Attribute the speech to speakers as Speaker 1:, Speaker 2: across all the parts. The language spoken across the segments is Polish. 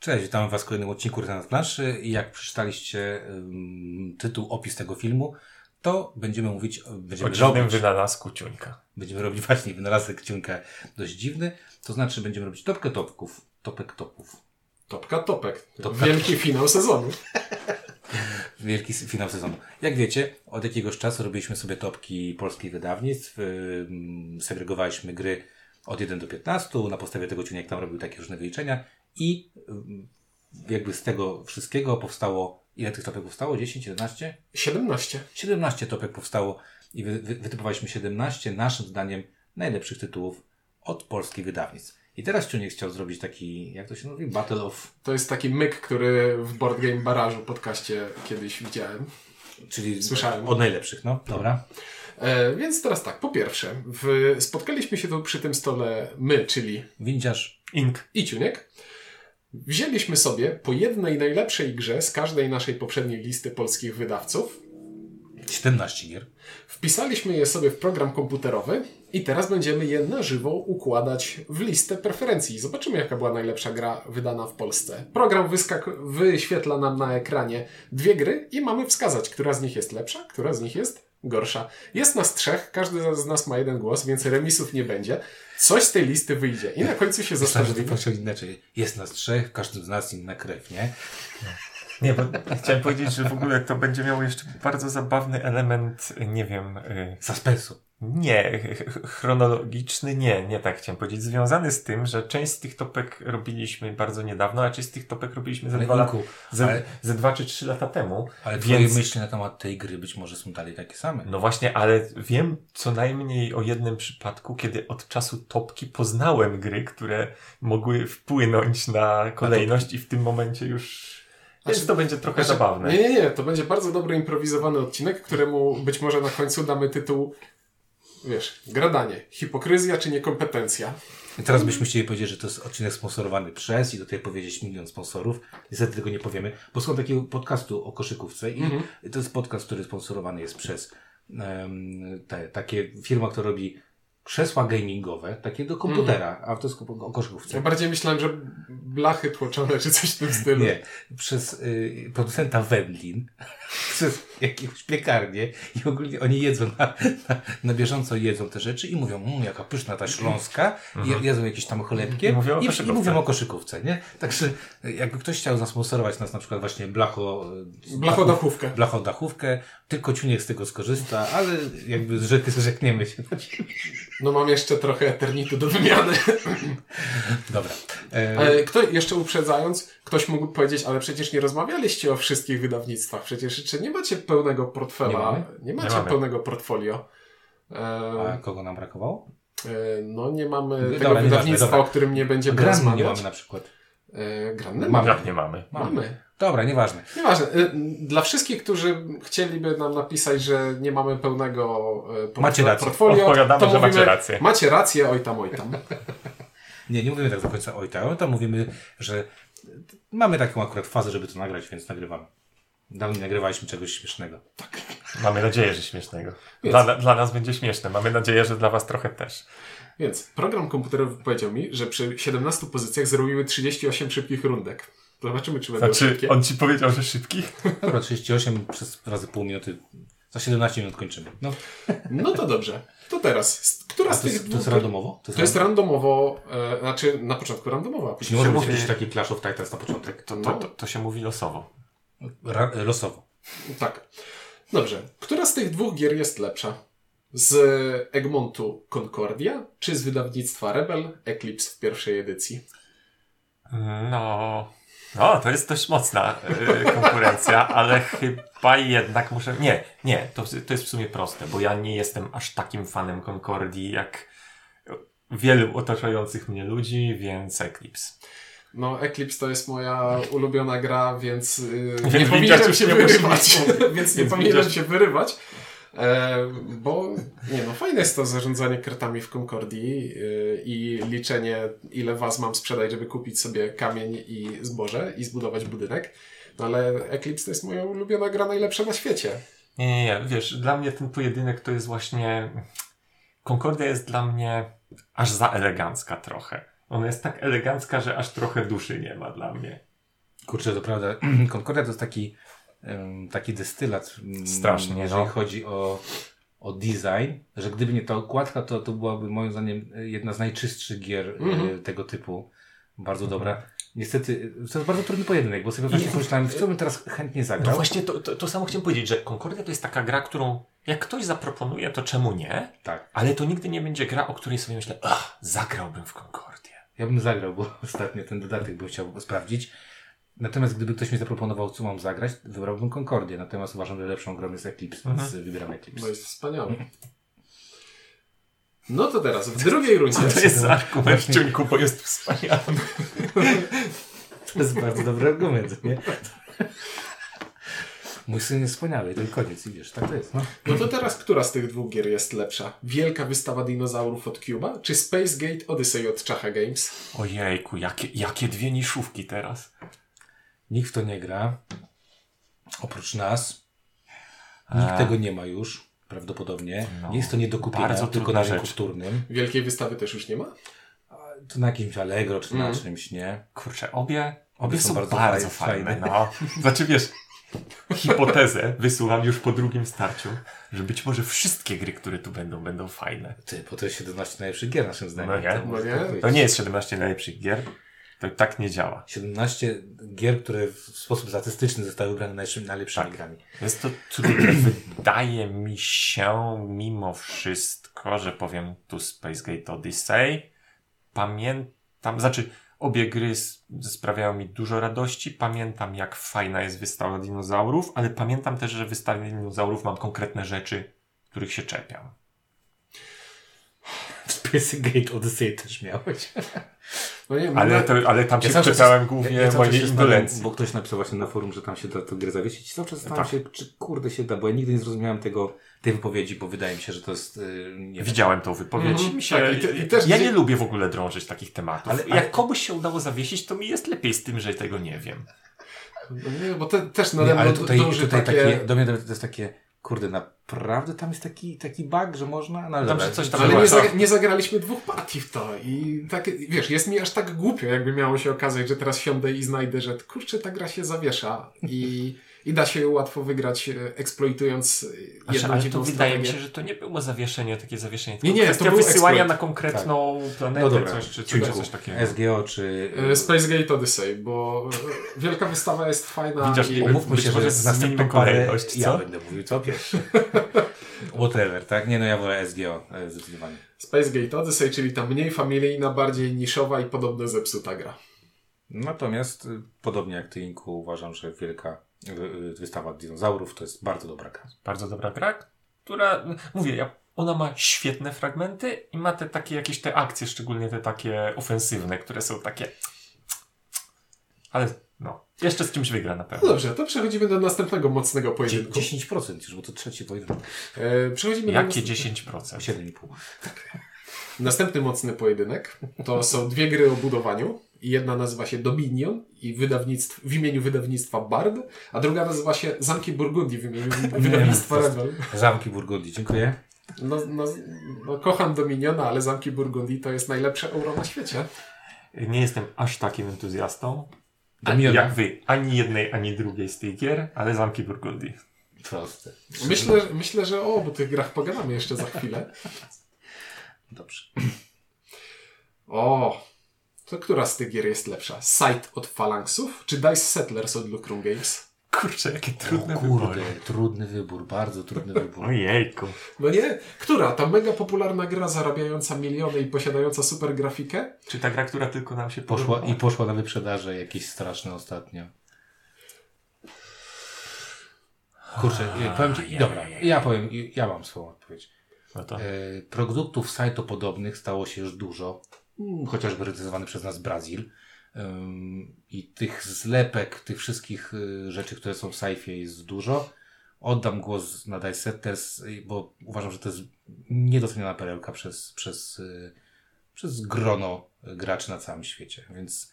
Speaker 1: Cześć, witam Was w kolejnym odcinku Rytm Planszy i jak przeczytaliście ym, tytuł, opis tego filmu, to będziemy mówić,
Speaker 2: O
Speaker 1: będziemy
Speaker 2: dziwnym
Speaker 1: robić,
Speaker 2: wynalazku ciuńka.
Speaker 1: będziemy robić właśnie wynalazek ciunka dość dziwny, to znaczy będziemy robić topkę topków, topek topów.
Speaker 3: Topka topek.
Speaker 1: Topka.
Speaker 3: Wielki finał sezonu.
Speaker 1: Wielki s- finał sezonu. Jak wiecie, od jakiegoś czasu robiliśmy sobie topki polskich wydawnictw, ym, segregowaliśmy gry od 1 do 15, na podstawie tego ciuniek tam robił takie różne wyliczenia i ym, jakby z tego wszystkiego powstało, ile tych topek powstało? 10, 11?
Speaker 3: 17.
Speaker 1: 17 topek powstało i wy, wy, wytypowaliśmy 17 naszym zdaniem najlepszych tytułów od polskich wydawnictw. I teraz Ciuniek chciał zrobić taki, jak to się mówi, Battle of,
Speaker 3: To jest taki myk, który w Board Game Barażu podcaście kiedyś widziałem.
Speaker 1: czyli
Speaker 3: Słyszałem.
Speaker 1: od najlepszych, no, dobra.
Speaker 3: E, więc teraz tak, po pierwsze, w, spotkaliśmy się tu przy tym stole my, czyli
Speaker 1: Windziarz,
Speaker 2: Ink.
Speaker 3: i Ciuniek. Wzięliśmy sobie po jednej najlepszej grze z każdej naszej poprzedniej listy polskich wydawców.
Speaker 1: 17 gier.
Speaker 3: Wpisaliśmy je sobie w program komputerowy i teraz będziemy je na żywo układać w listę preferencji. Zobaczymy, jaka była najlepsza gra wydana w Polsce. Program wyskak- wyświetla nam na ekranie dwie gry i mamy wskazać, która z nich jest lepsza, która z nich jest gorsza. Jest nas trzech, każdy z nas ma jeden głos, więc remisów nie będzie. Coś z tej listy wyjdzie i na końcu się
Speaker 1: Myślałem, że to
Speaker 3: zastanowimy.
Speaker 1: patrzył inaczej. Jest nas trzech, każdy z nas inna krew, nie?
Speaker 2: Nie, bo chciałem powiedzieć, że w ogóle to będzie miało jeszcze bardzo zabawny element, nie wiem, y,
Speaker 1: Suspensu.
Speaker 2: nie, ch- ch- chronologiczny, nie, nie tak chciałem powiedzieć, związany z tym, że część z tych topek robiliśmy bardzo niedawno, a część z tych topek robiliśmy ze
Speaker 1: Ale
Speaker 2: dwa, lat,
Speaker 1: Inku, ale-
Speaker 2: ze, ze dwa czy trzy lata temu.
Speaker 1: Ale twoje
Speaker 2: więc,
Speaker 1: myśli na temat tej gry być może są dalej takie same.
Speaker 2: No właśnie, ale wiem co najmniej o jednym przypadku, kiedy od czasu topki poznałem gry, które mogły wpłynąć na kolejność i w tym momencie już... Więc
Speaker 3: Znaczy-
Speaker 2: to będzie trochę
Speaker 3: Znaczy,
Speaker 2: zabawne.
Speaker 3: Nie, nie, nie, to będzie bardzo dobry improwizowany odcinek, któremu być może na końcu damy tytuł, wiesz, gradanie, hipokryzja czy niekompetencja.
Speaker 1: I teraz byśmy chcieli powiedzieć, że to jest odcinek sponsorowany przez i do tej powiedzieć milion sponsorów. Niestety tego nie powiemy, bo słucham takiego podcastu o koszykówce i to jest podcast, który sponsorowany jest przez em, te, takie firma, która robi krzesła gamingowe, takie do komputera, a to jest o o
Speaker 3: Ja
Speaker 1: koszykówce.
Speaker 3: bardziej myślałem, że blachy tłoczone czy coś w tym stylu.
Speaker 1: Nie, przez y, producenta Wendlin, przez jakąś piekarnię i ogólnie oni jedzą na, na, na bieżąco jedzą te rzeczy i mówią, mmm, jaka pyszna ta śląska, i jedzą jakieś tam chlebkiem
Speaker 2: I mówią o
Speaker 1: i, i
Speaker 2: koszykówce.
Speaker 1: mówią o koszykówce, nie? Także y, jakby ktoś chciał zasponsorować nas na przykład właśnie blacho... y,
Speaker 3: Blachodachówkę.
Speaker 1: blachodachówkę, tylko ciuniek z tego skorzysta, ale jakby zrzeknie, zrzekniemy się.
Speaker 3: No mam jeszcze trochę eternitu do wymiany.
Speaker 1: Dobra. E,
Speaker 3: Ale Kto, jeszcze uprzedzając, ktoś mógł powiedzieć, ale przecież nie rozmawialiście o wszystkich wydawnictwach. Przecież jeszcze nie macie pełnego
Speaker 1: Nie
Speaker 3: portfela.
Speaker 1: mamy?
Speaker 3: Nie macie
Speaker 2: Nie mamy.
Speaker 3: pełnego portfolio. E,
Speaker 1: a kogo nam brakowało?
Speaker 3: e, no nie mamy
Speaker 1: Dobra,
Speaker 3: tego
Speaker 1: nieważne,
Speaker 3: wydawnictwa,
Speaker 1: dobra.
Speaker 3: o którym nie będziemy
Speaker 1: Granny nie
Speaker 3: rozmawiać.
Speaker 1: mamy na przykład.
Speaker 3: E, Granny?
Speaker 1: Mamy.
Speaker 2: Jak nie mamy.
Speaker 3: Mamy.
Speaker 1: Dobra, nieważne.
Speaker 3: Nieważne. E, Dla wszystkich, którzy chcieliby nam napisać, że nie mamy pełnego e, portfela-
Speaker 1: Macie rację.
Speaker 3: portfolio,
Speaker 2: Odpowiadamy,
Speaker 3: to
Speaker 2: że
Speaker 3: mówimy,
Speaker 2: macie rację.
Speaker 3: Macie rację, oj tam, oj tam.
Speaker 1: Nie, nie mówimy tak do końca oj tam, tam mówimy, że mamy taką akurat fazę, żeby to nagrać, więc nagrywamy. Dawno nie nagrywaliśmy czegoś śmiesznego.
Speaker 2: Mamy nadzieję, że śmiesznego.
Speaker 3: Więc-
Speaker 2: Dla, dla nas będzie śmieszne. Mamy nadzieję, że dla was trochę też.
Speaker 3: Więc program komputerowy powiedział mi, że przy 17 pozycjach zrobimy 38 szybkich rundek. Zobaczymy, czy będą
Speaker 2: Znaczy,
Speaker 3: szybkie.
Speaker 2: on ci powiedział, że szybkich?
Speaker 1: Dobra, 38 przez razy pół minuty, za 17 minut kończymy. No,
Speaker 3: No to dobrze. To teraz, z- która
Speaker 1: a
Speaker 3: z
Speaker 1: to,
Speaker 3: tych
Speaker 1: jest, to
Speaker 3: dwóch-
Speaker 1: jest randomowo?
Speaker 3: To jest randomowo, e, znaczy na początku randomowo, a
Speaker 1: Czy
Speaker 3: później
Speaker 1: może być
Speaker 2: Mówię-
Speaker 1: jakiś taki Clash of Titans na początek?
Speaker 2: To,
Speaker 3: No.
Speaker 2: to, to, to się mówi losowo.
Speaker 1: Ra, losowo.
Speaker 3: tak. Dobrze. Która z tych dwóch gier jest lepsza? Z Egmontu Concordia, czy z wydawnictwa Rebel Eclipse w pierwszej edycji?
Speaker 2: No. No, to jest dość mocna y, konkurencja, ale chyba jednak muszę. Nie, nie, to, to jest w sumie proste, bo ja nie jestem aż takim fanem Concordii jak wielu otaczających mnie ludzi, więc Eclipse.
Speaker 3: No, Eclipse to jest moja ulubiona gra, więc, yy, nie
Speaker 2: Więc
Speaker 3: powinienem
Speaker 2: widać,
Speaker 3: się
Speaker 2: nie
Speaker 3: wyrywać.
Speaker 2: musimy mówić.
Speaker 3: więc nie
Speaker 2: Więc
Speaker 3: powinienem
Speaker 2: widać.
Speaker 3: się wyrywać. E, bo nie no, fajne jest to zarządzanie kartami w Concordii yy, i liczenie, ile was mam sprzedać, żeby kupić sobie kamień i zboże i zbudować budynek. No ale Eclipse to jest moja ulubiona gra, najlepsza na świecie.
Speaker 2: Nie, nie, nie, wiesz, dla mnie ten pojedynek to jest właśnie. Concordia jest dla mnie aż za elegancka trochę. Ona jest tak elegancka, że aż trochę duszy nie ma dla mnie.
Speaker 1: Kurczę, to prawda. Concordia to jest taki, em, taki destylat. mm,
Speaker 2: Strasznie,
Speaker 1: Jeżeli
Speaker 2: no.
Speaker 1: chodzi o, o design, że gdyby nie ta okładka, to to byłaby moim zdaniem e, jedna z najczystszych gier e,
Speaker 3: Mhm.
Speaker 1: tego typu. Bardzo
Speaker 2: Mhm.
Speaker 1: dobra. Niestety, e, to jest bardzo trudny pojedynek, bo sobie właśnie pomyślałem, w co bym teraz chętnie
Speaker 2: No
Speaker 1: zagrał.
Speaker 2: właśnie to, to, to samo chciałem powiedzieć, że Concordia to jest taka gra, którą jak ktoś zaproponuje, to czemu nie?
Speaker 1: tak,
Speaker 2: Ale to nigdy nie będzie gra, o której sobie myślę, ach, zagrałbym w Concordię.
Speaker 1: ja bym zagrał, bo ostatnio ten dodatek bym chciał sprawdzić. Natomiast gdyby ktoś mi zaproponował, co mam zagrać, wybrałbym Concordię. Natomiast uważam, że lepszą grą jest Eclipse, więc
Speaker 2: Mhm.
Speaker 1: e, wybieram Eclipse.
Speaker 3: Bo jest wspaniały. No to teraz, w drugiej rundzie.
Speaker 2: To jest argument, ciuńku, bo jest wspaniały.
Speaker 1: To jest bardzo dobry argument, nie? Mój syn jest wspaniały, to i koniec, i wiesz, tak to jest. No.
Speaker 3: No to teraz, która z tych dwóch gier jest lepsza? Wielka wystawa dinozaurów od Cuba, czy Space Gate Odyssey od Czacha Games?
Speaker 2: Ojejku, jakie, jakie dwie niszówki teraz.
Speaker 1: Nikt w to nie gra, oprócz nas. Nikt
Speaker 2: A.
Speaker 1: tego nie ma już, prawdopodobnie.
Speaker 2: No,
Speaker 1: Jest to nie do kupienia,
Speaker 2: bardzo
Speaker 1: tylko
Speaker 2: trudna
Speaker 1: na rynku
Speaker 2: rzecz.
Speaker 1: wtórnym.
Speaker 3: Wielkiej wystawy też już nie ma?
Speaker 1: To na jakimś Allegro, czy na
Speaker 2: Mm.
Speaker 3: Mhm.
Speaker 1: czymś, nie?
Speaker 2: Kurczę, obie,
Speaker 1: Obie
Speaker 2: obie
Speaker 1: są
Speaker 2: są bardzo,
Speaker 1: bardzo faj-
Speaker 2: fajne.
Speaker 1: fajne.
Speaker 2: No. Znaczy wiesz, hipotezę wysuwam już po drugim starciu, że być może wszystkie gry, które tu będą, będą fajne.
Speaker 1: Ty, bo to jest 17 najlepszych gier naszym zdaniem.
Speaker 2: nie,
Speaker 1: To
Speaker 3: no
Speaker 1: może
Speaker 3: nie.
Speaker 1: tak być.
Speaker 2: To nie jest 17 najlepszych gier. To tak nie działa.
Speaker 1: 17 gier, które w sposób statystyczny zostały wybrane najlepszymi, najlepszymi
Speaker 2: Tak.
Speaker 1: grami.
Speaker 2: Jest to trudne. Wydaje mi się mimo wszystko, że powiem tu Space Gate Odyssey. Pamiętam, znaczy obie gry s- sprawiają mi dużo radości. Pamiętam jak fajna jest wystawa dinozaurów, ale pamiętam też, że w wystawie dinozaurów mam konkretne rzeczy, których się czepiam.
Speaker 1: Space Gate Odyssey też miałeś.
Speaker 3: No nie,
Speaker 2: Ale,
Speaker 3: na-
Speaker 2: to, ale tam się
Speaker 1: cały czas-
Speaker 2: czepiałem głównie
Speaker 1: cały czas
Speaker 2: mojej
Speaker 1: się
Speaker 2: indolencji.
Speaker 1: staram, Bo ktoś napisał właśnie na forum, że tam się da tę grę zawiesić. Cały czas zastanawiam
Speaker 2: Tak.
Speaker 1: się, czy kurde się da, bo ja nigdy nie zrozumiałem tego, tej wypowiedzi, bo wydaje mi się, że to jest... Yy, nie wiem.
Speaker 2: Widziałem tą wypowiedź.
Speaker 3: Mhm,
Speaker 2: Mi się,
Speaker 3: tak, i te- i też
Speaker 2: ja
Speaker 3: gdzie-
Speaker 2: nie lubię w ogóle drążyć takich tematów.
Speaker 1: Ale-
Speaker 2: Ale,
Speaker 1: ale-
Speaker 2: Jak komuś się udało zawiesić, to mi jest lepiej z tym, że tego nie wiem. tak.
Speaker 3: No nie, bo te, też nade
Speaker 1: Nie,
Speaker 3: mną
Speaker 1: ale tutaj,
Speaker 3: dąży
Speaker 1: tutaj
Speaker 3: takie...
Speaker 1: takie... do mnie to jest takie, kurde, naprawdę tam jest taki, taki bug, że można? No, ale
Speaker 2: Tam
Speaker 1: dobra.
Speaker 2: się coś tam
Speaker 3: Ale
Speaker 2: była.
Speaker 3: nie, zagra- nie zagraliśmy dwóch partii w to i tak, wiesz, jest mi aż tak głupio, jakby miało się okazać, że teraz siądę i znajdę, że kurczę, ta gra się zawiesza i, i da się ją łatwo wygrać, e, eksploitując e,
Speaker 2: Znaczy,
Speaker 3: jedną
Speaker 2: ale to
Speaker 3: dziwną
Speaker 2: wydaje mi
Speaker 3: strategię.
Speaker 2: się, że to nie było zawieszenie, takie zawieszenie.
Speaker 3: Nie,
Speaker 2: Tylko
Speaker 3: nie, to
Speaker 2: kwestia
Speaker 3: był Tak.
Speaker 2: wysyłania
Speaker 3: exploit.
Speaker 2: na konkretną planetę,
Speaker 1: No dobra,
Speaker 2: coś, czy, czy,
Speaker 1: Ciuńku,
Speaker 2: czy coś takiego.
Speaker 1: SGO czy...
Speaker 3: E, Space Gate Odyssey, bo e, wielka wystawa jest fajna
Speaker 2: Widzisz,
Speaker 3: i...
Speaker 2: umów-
Speaker 1: Mówmy
Speaker 2: Być
Speaker 1: się, że
Speaker 2: może
Speaker 1: z
Speaker 2: zmienimy
Speaker 1: następną parę
Speaker 2: kolejność, co?
Speaker 1: ja będę mówił co pierwszy. Whatever, tak? Nie, no ja wolę SGO e, zdecydowanie.
Speaker 3: Space Gate Odyssey, czyli ta mniej familijna, bardziej niszowa i podobno zepsuta gra.
Speaker 1: Natomiast y, podobnie jak ty, Inku, uważam, że wielka y, y, wystawa dinozaurów to jest bardzo dobra gra.
Speaker 2: Bardzo dobra gra, która, mówię, ja, ona ma świetne fragmenty i ma te takie jakieś te akcje, szczególnie te takie ofensywne, które są takie. Ale no, jeszcze z czymś wygra na
Speaker 3: No
Speaker 2: pewno.
Speaker 3: dobrze, to przechodzimy do następnego mocnego
Speaker 1: Dzie-
Speaker 3: pojedynku.
Speaker 1: 10% już, bo to trzeci pojedynek.
Speaker 3: E, przechodzimy do
Speaker 2: Jakie
Speaker 3: następnego.
Speaker 2: 10%?
Speaker 1: 7,5.
Speaker 3: Następny mocny pojedynek to są dwie gry o budowaniu. I Jedna nazywa się Dominion i wydawnictw, w imieniu wydawnictwa Bard, a druga nazywa się Zamki Burgundii w imieniu wi- wydawnictwa
Speaker 1: to jest-
Speaker 3: Rebel.
Speaker 1: Zamki Burgundii, dziękuję.
Speaker 3: No, no, no, kocham Dominiona, ale Zamki Burgundii to jest najlepsze euro na świecie.
Speaker 2: Nie jestem aż takim entuzjastą.
Speaker 1: Dominion.
Speaker 2: Jak wy, ani jednej, ani drugiej z tych gier, ale zamki Burgundii.
Speaker 1: Proste.
Speaker 3: Myślę, myślę, że o obu tych grach pogadamy jeszcze za chwilę.
Speaker 1: Dobrze.
Speaker 3: O, to która z tych gier jest lepsza? Sight od Phalanxów czy Dice Settlers od Lucrum Games?
Speaker 2: Kurczę, jakie trudne
Speaker 1: o,
Speaker 2: wybory.
Speaker 1: kurde, trudny wybór, bardzo trudny wybór.
Speaker 2: Ojejku.
Speaker 3: No nie, która? Ta mega popularna gra zarabiająca miliony i posiadająca super grafikę?
Speaker 2: Czy ta gra, która tylko nam się
Speaker 1: Poszła,
Speaker 2: podobała?
Speaker 1: I poszła na wyprzedaże jakieś straszne ostatnio. Kurczę, y, powiem ci,
Speaker 2: Ajajaj.
Speaker 1: dobra, ja powiem, y, ja mam swoją odpowiedź.
Speaker 2: No to...
Speaker 1: E, Produktów sajtopodobnych stało się już dużo, Mm, chociażby recyzowany przez nas Brazil. Ym, I tych zlepek, tych wszystkich y, rzeczy, które są w sajfie jest dużo. Oddam głos na Dice Setters, y, bo uważam, że to jest niedoceniona perełka przez, przez, y, przez grono graczy na całym świecie. Więc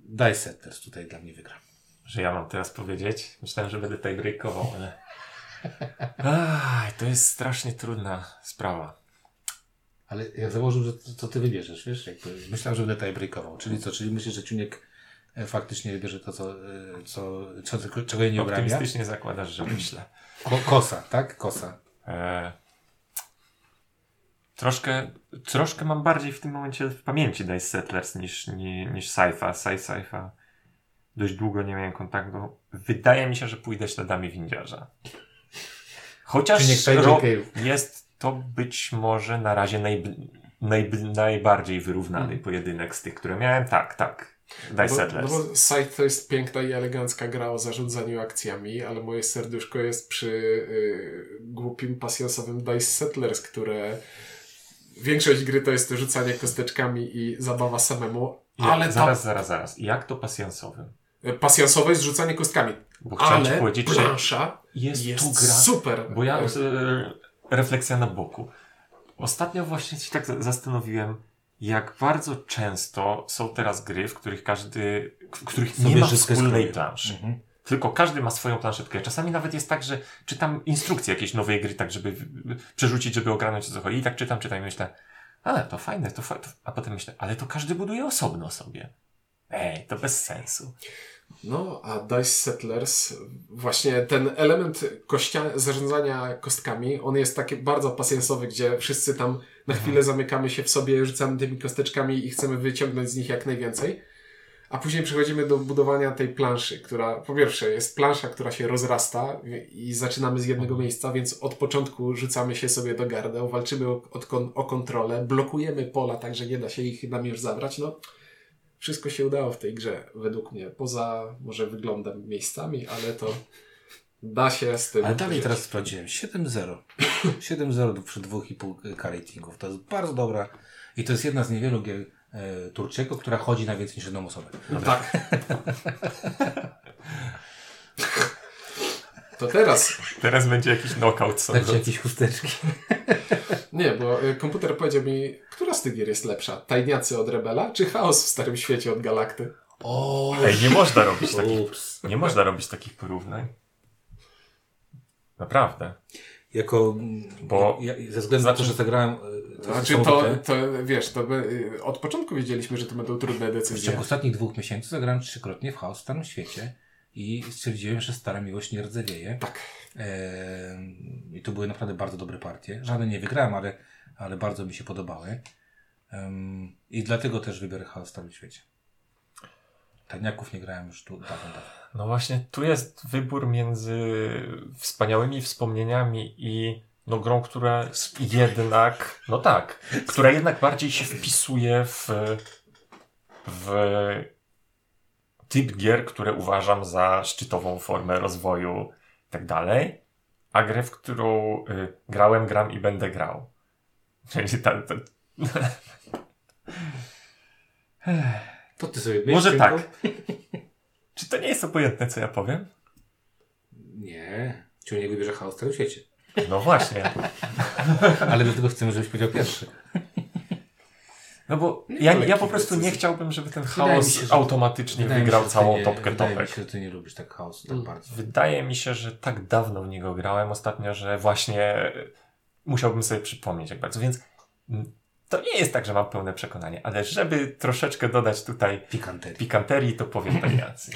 Speaker 1: Dice Setters tutaj dla mnie wygra.
Speaker 2: Że ja mam teraz powiedzieć? Myślałem, że będę tutaj breakował, ale... Aj, to jest strasznie trudna sprawa.
Speaker 1: Ale jak założył, że to, to ty wybierzesz, wiesz? Jakby myślałem, że będę tutaj breakował. Czyli co? Czyli myślisz, że Ciuniek e, faktycznie wybierze to, co, e, co, co, co czego jej nie obrabia.
Speaker 2: Optymistycznie zakładasz, że myślę.
Speaker 1: Ko, kosa, tak? Kosa.
Speaker 2: E, troszkę, troszkę mam bardziej w tym momencie w pamięci Dice Settlers niż, ni, niż Saifa. Sci Saifa dość długo nie miałem kontaktu. Wydaje mi się, że pójdę śladami windziarza.
Speaker 1: Czy nie
Speaker 2: Chociaż
Speaker 1: Księżyc
Speaker 2: ro-
Speaker 1: Cave?
Speaker 2: jest to być może na razie najbl- najbl- najbardziej wyrównany pojedynek z tych, które miałem. Tak, tak. Dice
Speaker 3: Hmm. Bo, no
Speaker 2: Settlers.
Speaker 3: bo Scythe to jest piękna i elegancka gra o zarządzaniu akcjami, ale moje serduszko jest przy y, głupim, pasjonsowym Dice Settlers, które większość gry to jest rzucanie kosteczkami i zabawa samemu,
Speaker 2: Ja,
Speaker 3: ale
Speaker 2: zaraz, zaraz, zaraz. Jak to pasjansowym?
Speaker 3: ta pasjonsowe E, jest rzucanie kostkami.
Speaker 2: Bo chciałem ci
Speaker 3: Ale
Speaker 2: powiedzieć, że
Speaker 3: plansza
Speaker 2: jest,
Speaker 3: jest,
Speaker 2: tu gra.
Speaker 3: super.
Speaker 2: Bo ja e, refleksja na boku. Ostatnio właśnie się tak za- zastanowiłem, jak bardzo często są teraz gry, w których każdy, k- w których nie
Speaker 1: Sobie
Speaker 2: ma
Speaker 1: wszystko
Speaker 2: wspólnej
Speaker 1: skroję.
Speaker 2: planszy.
Speaker 1: Mhm.
Speaker 2: Tylko każdy ma swoją planszetkę. Czasami nawet jest tak, że czytam instrukcję jakiejś nowej gry, tak żeby w- przerzucić, żeby ogarnąć o co chodzi. I tak czytam, czytam i myślę, ale to fajne, to fa- to... A potem myślę, ale to każdy buduje osobno sobie. Ej, to bez sensu.
Speaker 3: No, a Dice Settlers, właśnie ten element kościa, zarządzania kostkami, on jest taki bardzo pasjensowy, gdzie wszyscy tam
Speaker 2: Mhm.
Speaker 3: na chwilę zamykamy się w sobie, rzucamy tymi kosteczkami i chcemy wyciągnąć z nich jak najwięcej. A później przechodzimy do budowania tej planszy, która po pierwsze jest plansza, która się rozrasta i zaczynamy z
Speaker 1: Mhm.
Speaker 3: jednego miejsca, więc od początku rzucamy się sobie do gardeł, walczymy o, od kon, o kontrolę, blokujemy pola, tak że nie da się ich nam już zabrać. No, wszystko się udało w tej grze, według mnie. Poza może wyglądem miejscami, ale to da się z tym.
Speaker 1: Ale dalej
Speaker 3: żyć.
Speaker 1: teraz sprawdziłem. 7-0. 7-0 przy 2,5 k ratingów. To jest bardzo dobra. I to jest jedna z niewielu gier e, Turczego, która chodzi na więcej niż jedną osobę.
Speaker 3: Tak. To teraz
Speaker 2: Teraz będzie jakiś knockout
Speaker 1: Także
Speaker 2: sądzę.
Speaker 1: jakieś chusteczki.
Speaker 3: Nie, bo y, komputer powiedział mi, która z tych gier jest lepsza? Tajniacy od Rebela, czy Chaos w Starym Świecie od Galakty?
Speaker 1: O,
Speaker 2: Ej, nie można robić takich
Speaker 1: ups.
Speaker 2: Nie można robić takich porównań. Naprawdę.
Speaker 1: Jako, mm,
Speaker 2: Bo-
Speaker 1: ja, ze względu na to, że zagrałem e, to
Speaker 3: Znaczy to, to wiesz, to by, y, od początku wiedzieliśmy, że to będą trudne
Speaker 1: W
Speaker 3: decyzje.
Speaker 1: ciągu ostatnich dwóch miesięcy zagrałem trzykrotnie w Chaos w Starym Świecie i stwierdziłem, że stara miłość nie rdzewieje.
Speaker 3: Tak.
Speaker 1: Em, I to były naprawdę bardzo dobre partie. Żadne nie wygrałem, ale, ale bardzo mi się podobały. Em, I dlatego też wybiorę Chaos w Starym Świecie. Taniaków nie grałem już tu dawno, dawno.
Speaker 2: No właśnie, tu jest wybór między wspaniałymi wspomnieniami i no, grą, która jednak, no tak, która jednak bardziej się wpisuje w, w typ gier, które uważam za szczytową formę rozwoju i tak dalej, a grę, w którą y, grałem, gram i będę grał. Czyli ta, ta,
Speaker 1: To ty sobie
Speaker 2: Może
Speaker 1: myśl,
Speaker 2: tak.
Speaker 1: Cienko?
Speaker 2: Czy to nie jest obojętne, co ja powiem?
Speaker 1: Nie. Ciu nie wybierze Chaos w Starym Świecie.
Speaker 2: No właśnie.
Speaker 1: Ale dlatego chcemy, żebyś powiedział pierwszy.
Speaker 2: No bo
Speaker 3: Nie
Speaker 2: ja,
Speaker 3: ma
Speaker 2: ja po
Speaker 3: jakichś
Speaker 2: prostu nie
Speaker 3: decyzji.
Speaker 2: chciałbym, żeby ten
Speaker 1: Wydaje
Speaker 2: chaos
Speaker 1: mi się, że-
Speaker 2: automatycznie
Speaker 1: Wydaje mi
Speaker 2: wygrał
Speaker 1: się, że ty
Speaker 2: całą
Speaker 1: nie-
Speaker 2: topkę
Speaker 1: Wydaje mi
Speaker 2: topek.
Speaker 1: się, że ty nie lubisz tak chaosu tak
Speaker 3: Mm.
Speaker 1: bardzo.
Speaker 2: Wydaje mi się, że tak dawno w niego grałem ostatnio, że właśnie musiałbym sobie przypomnieć jak bardzo. Więc mm, to nie jest tak, że mam pełne przekonanie, ale żeby troszeczkę dodać tutaj
Speaker 1: Pikanterii.
Speaker 2: pikanterii, to powiem tak jacy.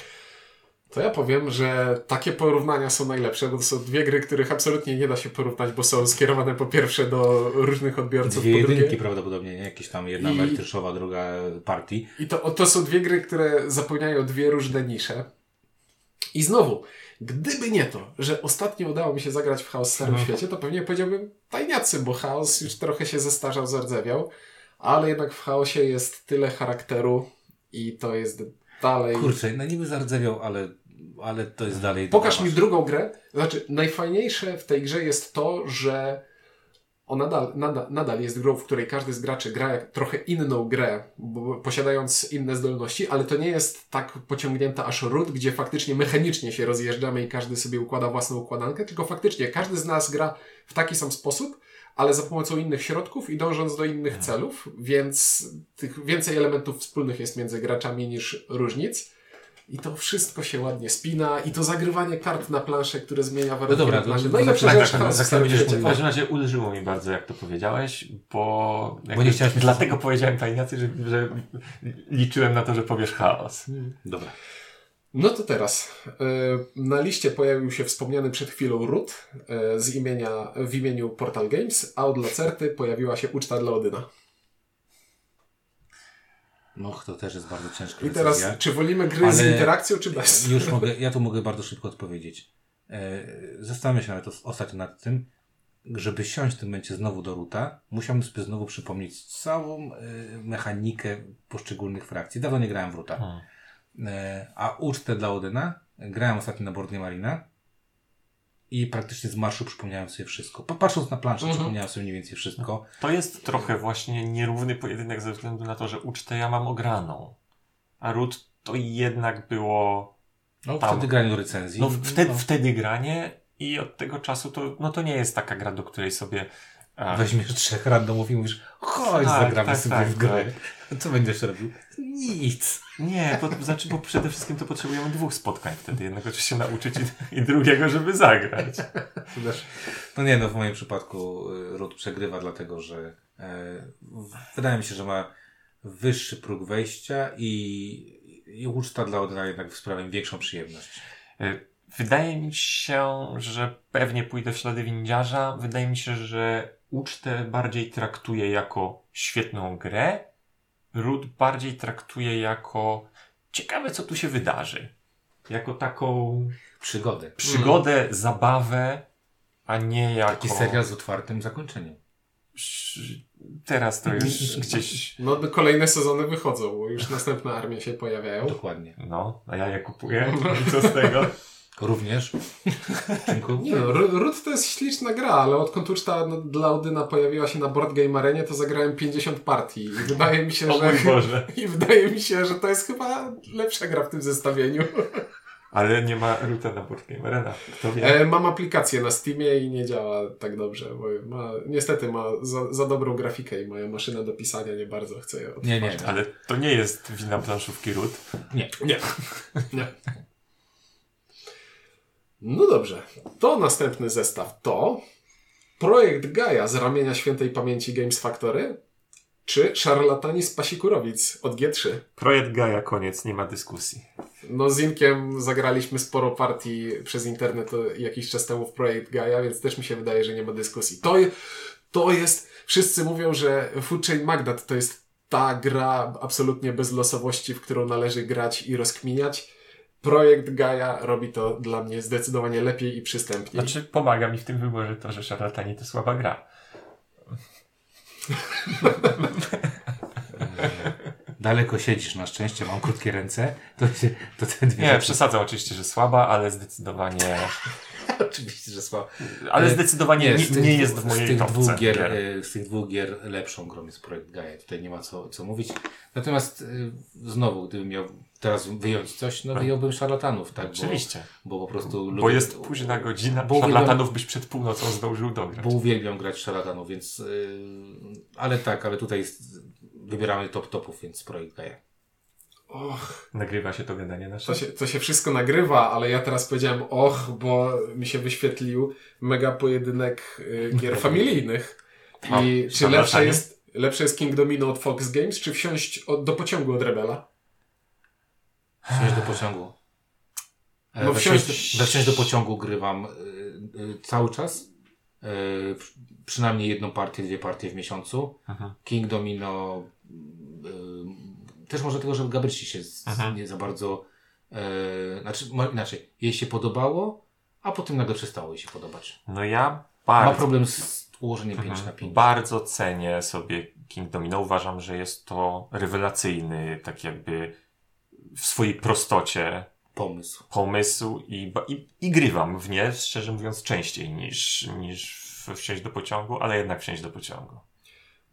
Speaker 3: To ja powiem, że takie porównania są najlepsze, bo to są dwie gry, których absolutnie nie da się porównać, bo są skierowane po pierwsze do różnych odbiorców,
Speaker 1: Dwie
Speaker 3: po
Speaker 1: jedynki
Speaker 3: drugie...
Speaker 1: prawdopodobnie, nie? Jakieś tam jedna
Speaker 3: I-
Speaker 1: merytryszowa, druga partii.
Speaker 3: I to, o, to są dwie gry, które zapełniają dwie różne nisze. I znowu, gdyby nie to, że ostatnio udało mi się zagrać w Chaos w Starym
Speaker 2: Mhm.
Speaker 3: Świecie, to pewnie powiedziałbym tajniacy, bo Chaos już trochę się zestarzał, zardzewiał, ale jednak w Chaosie jest tyle charakteru i to jest dalej...
Speaker 1: Kurczę, no niby zardzewiał, ale, ale to jest dalej...
Speaker 3: Pokaż
Speaker 1: dwa
Speaker 3: mi
Speaker 1: wasze.
Speaker 3: drugą grę. Znaczy, najfajniejsze w tej grze jest to, że ona nadal, nadal, nadal jest grą, w której każdy z graczy gra jak trochę inną grę, bo, posiadając inne zdolności, ale to nie jest tak pociągnięta aż ród, gdzie faktycznie mechanicznie się rozjeżdżamy i każdy sobie układa własną układankę, tylko faktycznie każdy z nas gra w taki sam sposób, ale za pomocą innych środków i dążąc do innych celów, więc tych więcej elementów wspólnych jest między graczami niż różnic. I to wszystko się ładnie spina, i to zagrywanie kart na planszę, które zmienia warunki
Speaker 1: dobra,
Speaker 3: na
Speaker 1: to-
Speaker 3: planszy. No
Speaker 1: to
Speaker 3: Najlepsza
Speaker 1: tak,
Speaker 3: rzecz
Speaker 1: tak,
Speaker 3: na
Speaker 1: tak,
Speaker 2: Tak samo
Speaker 3: stanie
Speaker 2: będziesz-
Speaker 3: świecie.
Speaker 2: W każdym razie ulżyło mi bardzo, jak to powiedziałeś, bo, jakby
Speaker 1: nie chciałeś mi
Speaker 2: dlatego powiedziałem to inaczej, że, że liczyłem na to, że powiesz chaos.
Speaker 1: Dobra.
Speaker 3: No to teraz. e, Na liście pojawił się wspomniany przed chwilą Root e, z imienia, w imieniu Portal Games, a od Lacerty pojawiła się uczta dla Odyna.
Speaker 1: No, to też jest bardzo ciężka
Speaker 3: I teraz,
Speaker 1: decyzja.
Speaker 3: czy wolimy gry z
Speaker 1: Ale-
Speaker 3: interakcją, czy bez?
Speaker 1: Już mogę, ja tu mogę bardzo szybko odpowiedzieć. E, Zastanawiam się nawet os- ostatnio nad tym, żeby siąść w tym momencie znowu do ruta, musiałbym sobie znowu przypomnieć całą e, mechanikę poszczególnych frakcji. Dawno nie grałem w ruta.
Speaker 2: Hmm.
Speaker 1: E, A ucztę dla Odyna grałem ostatnio na Boardnie Marina i praktycznie z marszu przypomniałem sobie wszystko. Pa- Patrząc na planszę,
Speaker 3: Mhm.
Speaker 1: przypomniałem sobie mniej więcej wszystko.
Speaker 2: To jest trochę właśnie nierówny pojedynek ze względu na to, że ucztę ja mam ograną, a ród to jednak było
Speaker 1: No,
Speaker 2: Tam.
Speaker 1: wtedy granie do recenzji.
Speaker 2: No, wtedy,
Speaker 1: No,
Speaker 2: wtedy granie i od tego czasu to, no to nie jest taka gra, do której sobie a,
Speaker 1: Weźmiesz trzech randomów i mówisz, chodź,
Speaker 2: Tak,
Speaker 1: zagramy
Speaker 2: tak,
Speaker 1: sobie
Speaker 2: tak,
Speaker 1: w grę. Co będziesz robił? Nic.
Speaker 2: Nie, bo, znaczy, bo przede wszystkim to potrzebujemy dwóch spotkań wtedy. Jednego, żeby się nauczyć i, i drugiego, żeby zagrać.
Speaker 1: No nie, no w moim przypadku y, Rud przegrywa, dlatego że e, w- wydaje mi się, że ma wyższy próg wejścia i, i uczta dla Odyna jednak sprawia mi większą przyjemność.
Speaker 2: Y, Wydaje mi się, że pewnie pójdę w ślady windiarza. Wydaje mi się, że ucztę bardziej traktuję jako świetną grę. Ród bardziej traktuję jako ciekawe, co tu się wydarzy. Jako taką
Speaker 1: Przygody.
Speaker 2: przygodę, zabawę, a nie jako...
Speaker 1: Mm. Taki serial z otwartym zakończeniem.
Speaker 2: Sz- Teraz to już gdzieś...
Speaker 3: No to kolejne sezony wychodzą, bo już następne armie się pojawiają.
Speaker 1: Dokładnie.
Speaker 2: No, a ja je kupuję. I co z tego?
Speaker 1: Również.
Speaker 3: Nie no, Ru- Root to jest śliczna gra, ale odkąd uczta no, dla Odyna pojawiła się na Board Game Arenie, to zagrałem 50 partii. I wydaje mi się,
Speaker 2: O mój
Speaker 3: że...
Speaker 2: Boże.
Speaker 3: I wydaje mi się, że to jest chyba lepsza gra w tym zestawieniu.
Speaker 2: Ale nie ma ruta na Board Game Arena. Kto wie?
Speaker 3: E, mam aplikację na Steamie i nie działa tak dobrze, bo ma, niestety ma za, za dobrą grafikę i moja maszyna do pisania nie bardzo chce ją.
Speaker 1: Nie, nie.
Speaker 2: Ale to nie jest wina planszówki Root.
Speaker 1: Nie.
Speaker 3: Nie. nie. No dobrze. To następny zestaw to projekt Gaja z ramienia świętej pamięci Games Factory czy szarlatani z Pasikurowic od G3.
Speaker 2: Projekt Gaja, koniec, nie ma dyskusji.
Speaker 3: No z Inkiem zagraliśmy sporo partii przez internet e, jakiś czas temu w projekt Gaia, więc też mi się wydaje, że nie ma dyskusji. To, je- to jest, wszyscy mówią, że Food Chain Magnet to jest ta gra absolutnie bez losowości, w którą należy grać i rozkminiać. Projekt Gaia robi to dla mnie zdecydowanie lepiej i przystępniej.
Speaker 2: Znaczy, pomaga mi w tym wyborze to, że szarlatani to słaba gra.
Speaker 1: Daleko siedzisz, na szczęście mam krótkie ręce. To, się, to te dwie
Speaker 2: Nie,
Speaker 1: rzeczy-
Speaker 2: przesadzam oczywiście, że słaba, ale zdecydowanie.
Speaker 1: Oczywiście, że słabo.
Speaker 2: Ale
Speaker 1: E,
Speaker 2: zdecydowanie
Speaker 1: z
Speaker 2: nie,
Speaker 1: tych
Speaker 2: nie
Speaker 1: dwóch-
Speaker 2: jest w
Speaker 1: z
Speaker 2: mojej
Speaker 1: tych
Speaker 2: topce.
Speaker 1: dwóch gier,
Speaker 2: gier.
Speaker 1: e, Z tych dwóch gier lepszą grą jest projekt Gaia. Tutaj nie ma co, co mówić. Natomiast e, znowu, gdybym miał teraz wyjąć coś, no wyjąłbym szarlatanów, tak?
Speaker 2: Oczywiście.
Speaker 1: Bo, bo po prostu
Speaker 2: Bo
Speaker 1: lubię-
Speaker 2: jest późna godzina,
Speaker 1: Bo uwielbiam-
Speaker 2: szarlatanów byś przed północą zdążył dograć.
Speaker 1: Bo uwielbiam grać szarlatanów, więc. y, ale tak, ale tutaj jest, wybieramy top topów, więc projekt Gaia.
Speaker 3: Och,
Speaker 2: Nagrywa się to gadanie nasze.
Speaker 3: to się, to się wszystko nagrywa, ale ja teraz powiedziałem och, bo mi się wyświetlił mega pojedynek y, gier familijnych.
Speaker 2: O,
Speaker 3: I czy
Speaker 2: szarlatani.
Speaker 3: lepsze jest, lepsze jest King Domino od Fox Games, czy wsiąść od, do pociągu od Rebela?
Speaker 1: Wsiąść do pociągu. E,
Speaker 3: No
Speaker 1: we
Speaker 3: wsiąść-
Speaker 1: wsiąść- we wsiąść do pociągu grywam y, y, cały czas. Y, w- przynajmniej jedną partię, dwie partie w miesiącu.
Speaker 2: Mhm.
Speaker 1: King Domino. y, też może tego, że Gabryci się z,
Speaker 2: Mhm.
Speaker 1: nie za bardzo. y, znaczy, mo- inaczej, jej się podobało, a potem nagle przestało jej się podobać.
Speaker 2: No ja
Speaker 1: Ma
Speaker 2: bardzo. Mhm.
Speaker 1: problem z ułożeniem 5 na 5.
Speaker 2: Bardzo cenię sobie King Domino. Uważam, że jest to rewelacyjny, tak jakby w swojej prostocie
Speaker 1: Pomysł.
Speaker 2: pomysł i, ba- i, i grywam w nie, szczerze mówiąc, częściej niż, niż w- wsiąść do pociągu, ale jednak wsiąść do pociągu.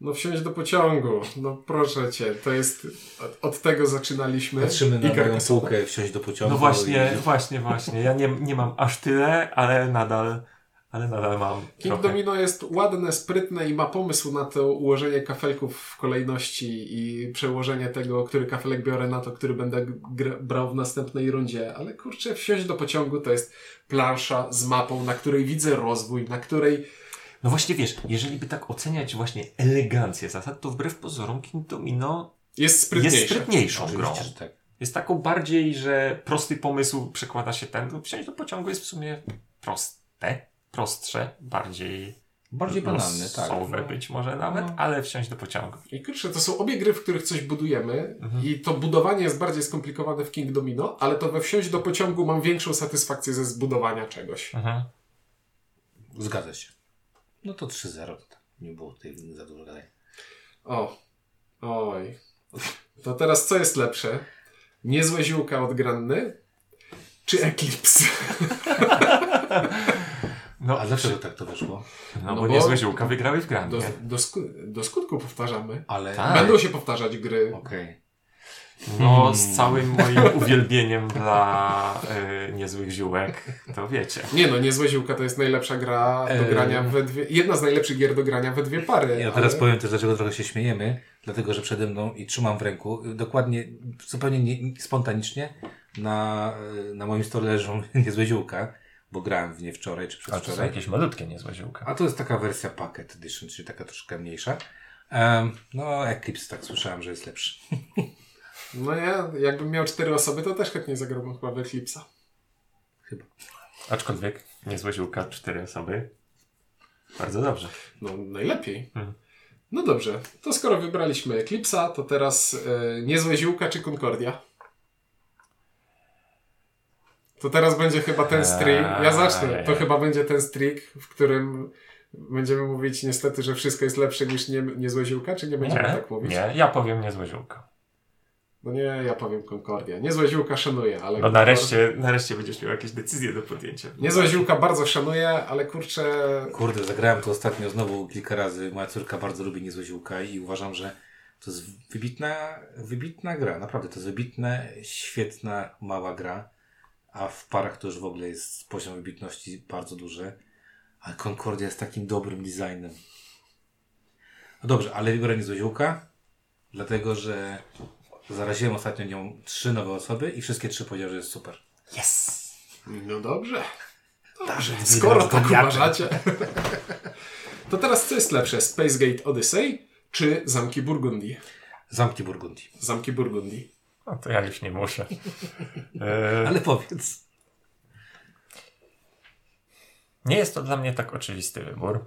Speaker 3: No wsiąść do pociągu, no proszę cię, to jest, od, od tego zaczynaliśmy.
Speaker 1: Patrzymy na
Speaker 3: Iga
Speaker 1: moją
Speaker 3: Kasada.
Speaker 1: półkę, wsiąść do pociągu.
Speaker 2: No właśnie,
Speaker 1: i-
Speaker 2: właśnie, właśnie. Ja nie, nie mam aż tyle, ale nadal, ale nadal mam
Speaker 3: King
Speaker 2: trochę...
Speaker 3: Domino jest ładne, sprytne i ma pomysł na to ułożenie kafelków w kolejności i przełożenie tego, który kafelek biorę na to, który będę gr- brał w następnej rundzie. Ale kurczę, wsiąść do pociągu to jest plansza z mapą, na której widzę rozwój, na której
Speaker 2: No właśnie wiesz, jeżeli by tak oceniać właśnie elegancję zasad, to wbrew pozorom King Domino
Speaker 3: jest sprytniejsza.
Speaker 2: jest sprytniejszą grą.
Speaker 1: Oczywiście, że tak.
Speaker 2: Jest taką bardziej, że prosty pomysł przekłada się ten. no, Wsiąść do pociągu jest w sumie proste, prostsze, bardziej
Speaker 1: Bardziej banalne, tak.
Speaker 2: losowe No, być może nawet,
Speaker 1: No.
Speaker 2: ale wsiąść do pociągu.
Speaker 3: I kurczę, to są obie gry, w których coś budujemy
Speaker 2: Mhm.
Speaker 3: i to budowanie jest bardziej skomplikowane w King Domino, ale to we wsiąść do pociągu mam większą satysfakcję ze zbudowania czegoś.
Speaker 2: Mhm.
Speaker 1: Zgadza się. No to 3-0. Nie było tutaj za dużo gadania.
Speaker 3: O, oj. To teraz co jest lepsze? Niezłe ziółka od Granny? Czy Eclipse?
Speaker 2: No,
Speaker 1: A dlaczego tak to wyszło?
Speaker 2: No,
Speaker 3: No
Speaker 2: bo,
Speaker 3: bo- No.
Speaker 2: niezłe ziółka wygrały w
Speaker 3: Do,
Speaker 2: Grandzie.
Speaker 3: do, sku- do skutku powtarzamy.
Speaker 1: Ale.
Speaker 2: Tak.
Speaker 3: Będą się powtarzać gry.
Speaker 1: Okej.
Speaker 2: No, z całym moim uwielbieniem dla y, niezłych ziółek, to wiecie.
Speaker 3: Nie no, Niezłe ziółka to jest najlepsza gra do
Speaker 1: Eee.
Speaker 3: grania we dwie... Jedna z najlepszych gier do grania we dwie pary.
Speaker 1: Ja teraz
Speaker 3: ale-
Speaker 1: powiem też, dlaczego trochę się śmiejemy. Dlatego, że przede mną i trzymam w ręku. y, Dokładnie, zupełnie nie, spontanicznie na, y, na moim stole leżą niezłe ziółka, bo grałem w nie wczoraj czy
Speaker 2: tak.
Speaker 1: przedwczoraj.
Speaker 2: malutkie niezłe ziółka.
Speaker 1: A to jest taka wersja Packet Edition, czyli taka troszkę mniejsza. Em, no, Eclipse tak słyszałem, że jest lepszy.
Speaker 3: No ja, jakbym miał cztery osoby, to też chętnie zagrałbym chyba w Eclipse'a.
Speaker 1: Chyba.
Speaker 2: Aczkolwiek niezłe ziółka, cztery osoby. Bardzo dobrze.
Speaker 3: No najlepiej.
Speaker 2: Mhm.
Speaker 3: No dobrze, to skoro wybraliśmy Eclipse'a, to teraz e, Niezłe Ziółka czy Concordia? To teraz będzie chyba ten streak. Ja zacznę. To
Speaker 2: Eee.
Speaker 3: chyba będzie ten streak, w którym będziemy mówić niestety, że wszystko jest lepsze niż nie, Niezłe Ziółka, czy nie będziemy
Speaker 2: nie,
Speaker 3: tak mówić?
Speaker 2: nie, ja powiem niezłe ziółka.
Speaker 3: No nie, ja powiem Concordia. Niezłe Ziółka szanuję, ale...
Speaker 2: No nareszcie, nareszcie będziesz miał jakieś decyzje do podjęcia.
Speaker 3: Tak, Niezłe Ziółka bardzo szanuję, ale kurczę...
Speaker 1: Kurde, zagrałem to ostatnio znowu kilka razy. Moja córka bardzo lubi niezłe ziółka i uważam, że to jest wybitna, wybitna gra. Naprawdę, to jest wybitna, świetna, mała gra. A w parach to już w ogóle jest poziom wybitności bardzo duży. A Concordia jest takim dobrym designem. No dobrze, ale wybiorę niezłe ziółka, dlatego że zaraziłem ostatnio nią trzy nowe osoby i wszystkie trzy powiedziały, że jest super.
Speaker 2: Yes!
Speaker 3: No dobrze.
Speaker 1: Dobrze,
Speaker 3: Skoro tak uważacie. To teraz co jest lepsze? Space Gate Odyssey czy Zamki Burgundii?
Speaker 1: Zamki Burgundii.
Speaker 3: Zamki Burgundii.
Speaker 2: No to ja już nie muszę. E,
Speaker 1: Ale powiedz.
Speaker 2: nie jest to dla mnie tak oczywisty wybór,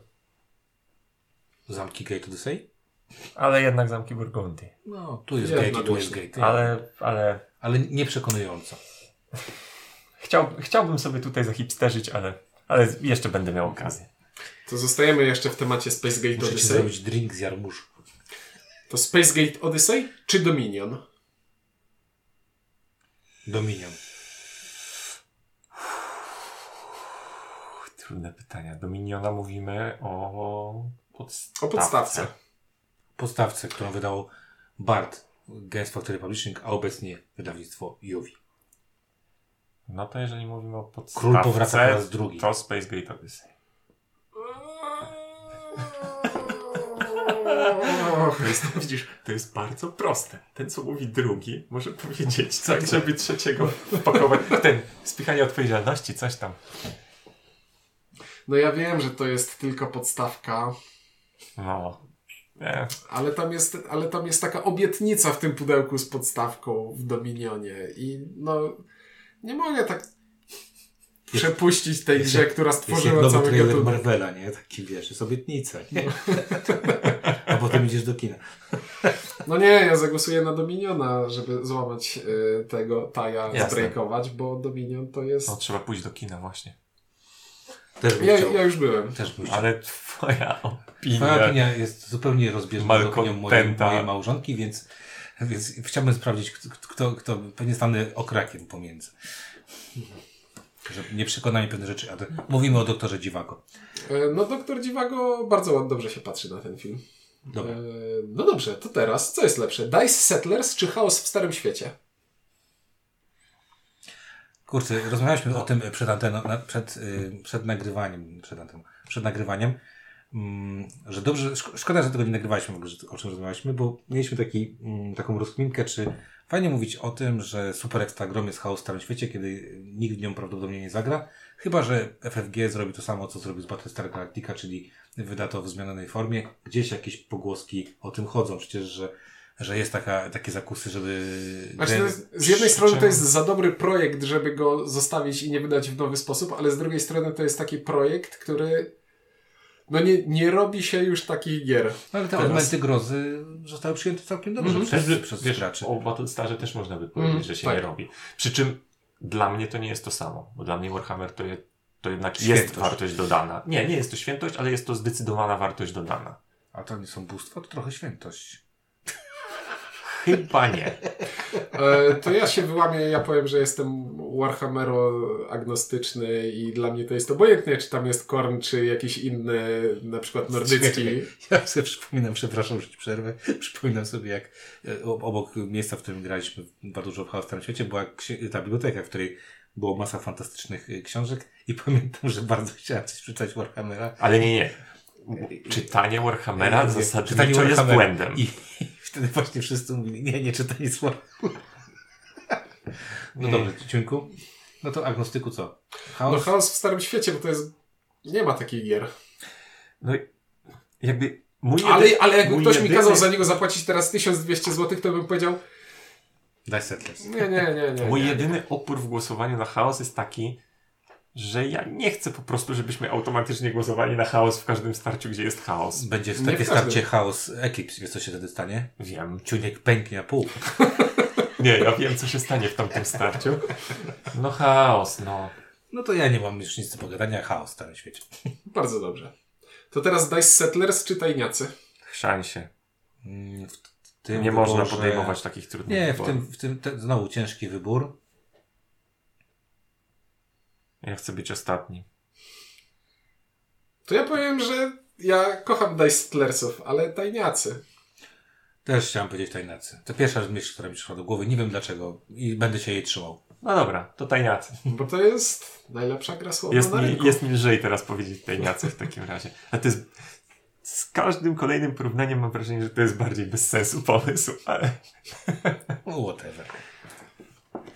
Speaker 1: Zamki Gate Odyssey?
Speaker 2: ale jednak zamki Burgundii.
Speaker 1: No, tu jest
Speaker 3: Jednak
Speaker 1: gate i tu jest
Speaker 3: właśnie.
Speaker 1: gate. Ale,
Speaker 2: Ale, ale
Speaker 1: ale nie przekonująco.
Speaker 2: Chciał, chciałbym sobie tutaj zahipsterzyć, ale, ale jeszcze będę miał okazję.
Speaker 3: To zostajemy jeszcze w temacie Space Gate
Speaker 1: Musicie
Speaker 3: Odyssey.
Speaker 1: zrobić drink z jarmużu.
Speaker 3: To Space Gate Odyssey czy Dominion?
Speaker 1: Dominion.
Speaker 2: Uch, Trudne pytania. Do Miniona mówimy o podstawce.
Speaker 3: O podstawce.
Speaker 1: Podstawce, którą wydał Bart Games Factory Publishing, a obecnie wydawnictwo Juwi.
Speaker 2: No to jeżeli mówimy o podstawce,
Speaker 1: Król powraca po raz drugi.
Speaker 2: to Space Gate Odyssey. To jest, widzisz, to jest bardzo proste. Ten, co mówi drugi, może powiedzieć tak, żeby trzeciego wpakować. Ten, spychanie odpowiedzialności, coś tam.
Speaker 3: No ja wiem, że to jest tylko podstawka,
Speaker 2: No. Nie.
Speaker 3: ale tam jest, ale tam jest taka obietnica w tym pudełku z podstawką w Dominionie i no nie mogę tak przepuścić tej
Speaker 1: jest-
Speaker 3: grze, która
Speaker 1: Jest
Speaker 3: stworzyła
Speaker 1: jak nowy
Speaker 3: cały
Speaker 1: trailer
Speaker 3: gatunek.
Speaker 1: Marvela, nie? Taki wiesz, jest obietnica. Nie? a potem idziesz do kina.
Speaker 3: No nie, ja zagłosuję na Dominiona, żeby złamać y, tego taja,
Speaker 2: Jasne.
Speaker 3: zbrejkować, bo Dominion to jest...
Speaker 2: No trzeba pójść do kina właśnie.
Speaker 1: Też bym
Speaker 3: Ja,
Speaker 1: chciał.
Speaker 3: ja już byłem.
Speaker 1: Też bym chciał.
Speaker 2: Ale twoja opinia...
Speaker 1: Moja opinia jest zupełnie rozbieżna z opinią mojej,
Speaker 2: Malcontenta.
Speaker 1: mojej małżonki, więc, więc chciałbym sprawdzić, kto, kto, kto pewnie stanę okrakiem pomiędzy. Że nie przekona mnie pewne rzeczy. A to, mówimy o doktorze Dziwako.
Speaker 3: E, No doktor Dziwago bardzo ład- dobrze się patrzy na ten film.
Speaker 1: Dobra.
Speaker 3: E, No dobrze, to teraz, co jest lepsze? Dice Settlers czy Chaos w Starym Świecie?
Speaker 1: Kurczę, rozmawialiśmy
Speaker 3: No.
Speaker 1: o tym przed anteną, na, przed, y, przed nagrywaniem, przed anteną, przed nagrywaniem, mm, że dobrze, szko- szkoda, że tego nie nagrywaliśmy w ogóle, że- o czym rozmawialiśmy, bo mieliśmy taki, mm, taką rozkminkę, czy fajnie mówić o tym, że Super Extra Grom jest chaos w starym świecie, kiedy nikt w nią prawdopodobnie nie zagra, chyba, że FFG zrobi to samo, co zrobił z Battlestar Galactica, czyli wyda to w zmienionej formie. Gdzieś jakieś pogłoski o tym chodzą, przecież, że że jest taka, takie zakusy, żeby...
Speaker 3: Znaczy,
Speaker 1: gry-
Speaker 3: to jest, z jednej strony to jest za dobry projekt, żeby go zostawić i nie wydać w nowy sposób, ale z drugiej strony to jest taki projekt, który no nie, nie robi się już takich gier.
Speaker 1: No ale te
Speaker 2: Teraz-
Speaker 1: elementy grozy zostały przyjęte całkiem dobrze
Speaker 3: Mhm.
Speaker 1: przez,
Speaker 2: Też,
Speaker 1: przez
Speaker 2: wiesz,
Speaker 1: graczy.
Speaker 2: o Battlestarze też można by powiedzieć,
Speaker 3: Mm,
Speaker 2: że się
Speaker 3: tak.
Speaker 2: nie robi. Przy czym dla mnie to nie jest to samo, bo dla mnie Warhammer to, je, to jednak jest
Speaker 1: Świętość.
Speaker 2: wartość dodana. Nie, nie jest to świętość, ale jest to zdecydowana wartość dodana.
Speaker 1: A to nie są bóstwa, to trochę świętość.
Speaker 2: Chyba nie.
Speaker 3: E, to ja się wyłamię, ja powiem, że jestem Warhammero agnostyczny i dla mnie to jest obojętne, czy tam jest Korn, czy jakiś inny, na przykład nordycki.
Speaker 1: Ja sobie przypominam, przepraszam, że ci przerwę, przypominam sobie jak e, o- obok miejsca, w którym graliśmy bardzo dużo w Chaos w Starym Świecie, była ksi- ta biblioteka, w której było masa fantastycznych e, książek i pamiętam, że bardzo chciałem coś przeczytać Warhammera.
Speaker 2: Ale nie, nie. Czytanie Warhammera
Speaker 1: Nie, nie,
Speaker 2: zasadniczo
Speaker 1: czytanie
Speaker 2: jest
Speaker 1: Warhammera.
Speaker 2: błędem.
Speaker 1: I, I wtedy właśnie wszyscy mówili, nie, nie czytaj nic Warhammera. No
Speaker 2: Mm.
Speaker 1: dobrze, Ciuńku. No to agnostyku co? Chaos?
Speaker 3: No chaos w starym świecie, bo to jest... Nie ma takich gier.
Speaker 2: No i jakby mój
Speaker 3: Ale,
Speaker 2: jedy-
Speaker 3: ale jakby
Speaker 2: mój
Speaker 3: ktoś mi
Speaker 2: jedyny-
Speaker 3: kazał za niego zapłacić teraz 1200 zł, to bym powiedział
Speaker 1: Daj setles.
Speaker 3: nie, nie, nie. nie,
Speaker 2: Mój
Speaker 3: nie.
Speaker 2: jedyny opór w głosowaniu na chaos jest taki, że ja nie chcę po prostu, żebyśmy automatycznie głosowali na chaos w każdym starciu, gdzie jest chaos.
Speaker 1: Będzie w
Speaker 3: Nie
Speaker 1: takie
Speaker 3: w każdym.
Speaker 1: starcie chaos Eclipse, wiesz co się wtedy stanie?
Speaker 2: Wiem.
Speaker 1: Ciuniek pęknie na pół.
Speaker 2: Nie, ja wiem, co się stanie w tamtym starciu. No chaos, no.
Speaker 1: No to ja nie mam już nic do pogadania, chaos w starym świecie.
Speaker 3: Bardzo dobrze. To teraz Dice Settlers czy Tajniacy?
Speaker 2: Chrzan się.
Speaker 1: Mm, W t-
Speaker 2: Nie
Speaker 1: tym
Speaker 2: można
Speaker 1: wyborze-
Speaker 2: podejmować takich trudnych
Speaker 1: Nie, w
Speaker 2: wyborów.
Speaker 1: tym, w tym te, znowu ciężki wybór.
Speaker 2: Ja chcę być ostatni.
Speaker 3: To ja powiem, że ja kocham Dice Settlersów, ale Tajniacy.
Speaker 1: Też chciałem powiedzieć tajnacy. To pierwsza myśl, która mi przyszła do głowy. Nie wiem dlaczego i będę się jej trzymał.
Speaker 2: No dobra, to tajniacy.
Speaker 3: Bo to jest najlepsza gra słowna
Speaker 2: Jest
Speaker 3: na
Speaker 2: mi,
Speaker 3: rynku.
Speaker 2: jest mi lżej teraz powiedzieć tajniacy w takim razie. A to jest... Z każdym kolejnym porównaniem mam wrażenie, że to jest bardziej bez sensu pomysł, ale...
Speaker 1: No whatever.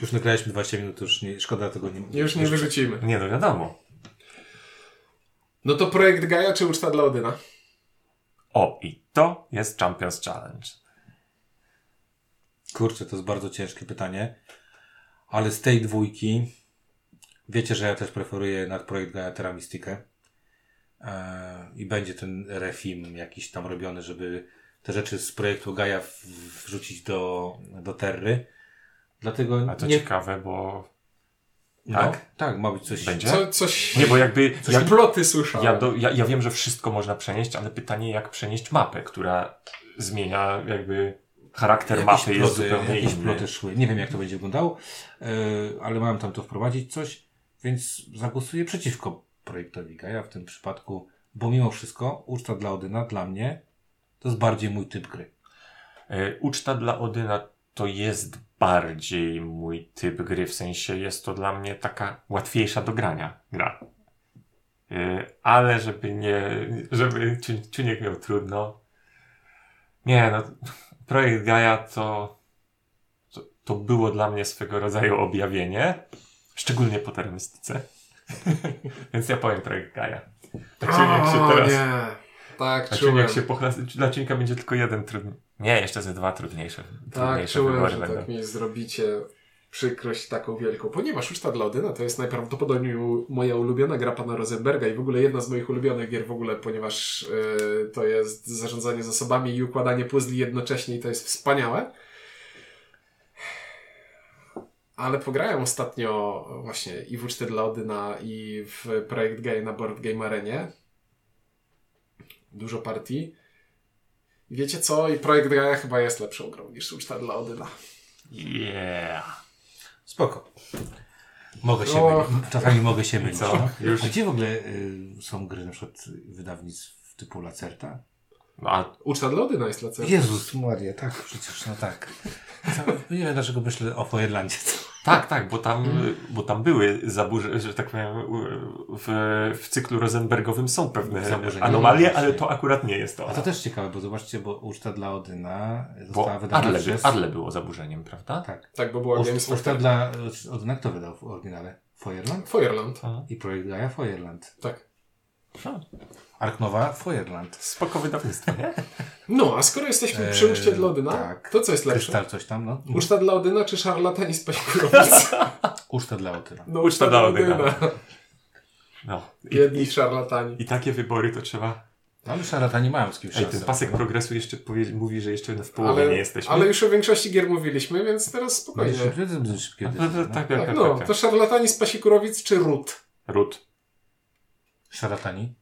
Speaker 1: Już nagraliśmy 20 minut, już nie, szkoda tego nie...
Speaker 3: Już nie wyrzucimy.
Speaker 2: Nie, no wiadomo.
Speaker 3: No to projekt Gaja czy Uczta dla Odyna?
Speaker 2: O, i to jest Champions Challenge.
Speaker 1: Kurczę, to jest bardzo ciężkie pytanie. Ale z tej dwójki wiecie, że ja też preferuję nad projekt Gaia Terra Mystica. Eee, I będzie ten refilm jakiś tam robiony, żeby te rzeczy z projektu Gaia w- wrzucić do, do Terry. Dlatego
Speaker 2: A to
Speaker 1: nie...
Speaker 2: ciekawe, bo...
Speaker 1: no,
Speaker 2: tak?
Speaker 1: tak, ma być coś...
Speaker 2: Będzie?
Speaker 3: Co, coś...
Speaker 2: Nie, bo jakby...
Speaker 3: Coś
Speaker 2: jak-
Speaker 3: ploty słyszałem.
Speaker 2: Ja, do, ja, ja wiem, że wszystko można przenieść, ale pytanie, jak przenieść mapę, która zmienia jakby charakter
Speaker 1: Jakieś
Speaker 2: mapy jest
Speaker 1: ploty,
Speaker 2: zupełnie
Speaker 1: jakieś
Speaker 2: inny.
Speaker 1: ploty szły. Nie wiem, jak to będzie wyglądało, eee, ale mam tam to wprowadzić coś, więc zagłosuję przeciwko projektowi Gaia w tym przypadku, bo mimo wszystko uczta dla Odyna, dla mnie, to jest bardziej mój typ gry.
Speaker 2: E, Uczta dla Odyna to jest bardziej mój typ gry, w sensie jest to dla mnie taka łatwiejsza do grania gra. E, Ale żeby nie, żeby Ciu- Ciuniek miał trudno. Nie, no, projekt Gaia to, to, to było dla mnie swego rodzaju objawienie, szczególnie po termistyce. Więc ja powiem projekt Gaia. Tak Ciuniek się
Speaker 3: o,
Speaker 2: teraz...
Speaker 3: nie. Tak,
Speaker 2: A
Speaker 3: czułem.
Speaker 2: Ciuniek się pochlasy, dla Ciuńka będzie tylko jeden trudny. Nie, jeszcze ze dwa trudniejsze.
Speaker 3: Tak,
Speaker 2: trudniejsze
Speaker 3: czułem,
Speaker 2: wybory
Speaker 3: że
Speaker 2: będą.
Speaker 3: tak mi zrobicie przykrość taką wielką. Ponieważ Uczta dla Odyna to jest najprawdopodobniej u- moja ulubiona gra pana Rosenberga i w ogóle jedna z moich ulubionych gier w ogóle, ponieważ y, to jest zarządzanie zasobami i układanie puzli jednocześnie i to jest wspaniałe. Ale pograłem ostatnio właśnie i w Uczty dla Odyna i w Projekt Gay na Board Game Arenie. Dużo partii. I Wiecie co? I Projekt Gaia chyba jest lepszą grą niż no. Uczta dla Odyna.
Speaker 2: Yeah.
Speaker 1: Spoko. Mogę się
Speaker 3: O.
Speaker 1: mylić. Czasami mogę się mylić.
Speaker 2: Co?
Speaker 1: No.
Speaker 2: Już?
Speaker 1: A gdzie w ogóle y, są gry na przykład wydawnictw typu Lacerta?
Speaker 2: No, a
Speaker 3: Uczta dla Odyna jest lecem.
Speaker 1: Jezus Maria, tak, przecież, no tak. Nie wiem, dlaczego myślę o Irlandzie.
Speaker 2: Tak, tak, bo tam,
Speaker 3: Mm.
Speaker 2: bo tam były zaburzenia, że tak powiem, u- w, w cyklu rozenbergowym są pewne
Speaker 1: Zaburzenia.
Speaker 2: anomalie,
Speaker 1: No
Speaker 2: ale
Speaker 1: właśnie.
Speaker 2: to akurat nie jest to.
Speaker 1: A to też ciekawe, bo zobaczcie, bo uczta dla Odyna
Speaker 2: Bo
Speaker 1: została wydana
Speaker 2: Arle,
Speaker 1: przez...
Speaker 2: Arle było zaburzeniem, prawda?
Speaker 1: Tak.
Speaker 3: Tak, bo była Games
Speaker 1: Uczta,
Speaker 3: of
Speaker 1: uczta dla Odyna kto wydał w oryginale? Feuerland?
Speaker 3: Feuerland.
Speaker 1: I projekt Gaia Feuerland.
Speaker 3: Tak.
Speaker 1: Ark Nowa Feuerland.
Speaker 2: No, Spoko wydawnictwo, nie?
Speaker 3: No, a skoro jesteśmy przy
Speaker 1: Eee,
Speaker 3: uczcie dla Odyna,
Speaker 1: tak.
Speaker 3: to co jest lepsze?
Speaker 1: Kryształ coś tam, no.
Speaker 3: Uczta dla Odyna czy szarlatani z października?
Speaker 1: Uczta dla Odyna.
Speaker 3: No,
Speaker 2: Uczta dla Odyna. No. I,
Speaker 3: Jedni
Speaker 2: i,
Speaker 3: szarlatani.
Speaker 2: I takie wybory to trzeba...
Speaker 1: No, ale szaratani mają z kimś
Speaker 2: Ej,
Speaker 1: szansę.
Speaker 2: ten pasek progresu jeszcze powie, mówi, że jeszcze w połowie
Speaker 3: no. Ale,
Speaker 2: nie jesteśmy.
Speaker 3: ale już o większości gier mówiliśmy, więc teraz
Speaker 1: Będzie
Speaker 3: spokojnie.
Speaker 1: szybkie, będzie szybkie.
Speaker 2: No, no, tak, tak,
Speaker 3: Tak,
Speaker 2: tak,
Speaker 3: no,
Speaker 2: tak,
Speaker 3: to
Speaker 2: tak.
Speaker 3: szarlatani z Pasikurowic czy Rut?
Speaker 2: Ród.
Speaker 1: Szaratani?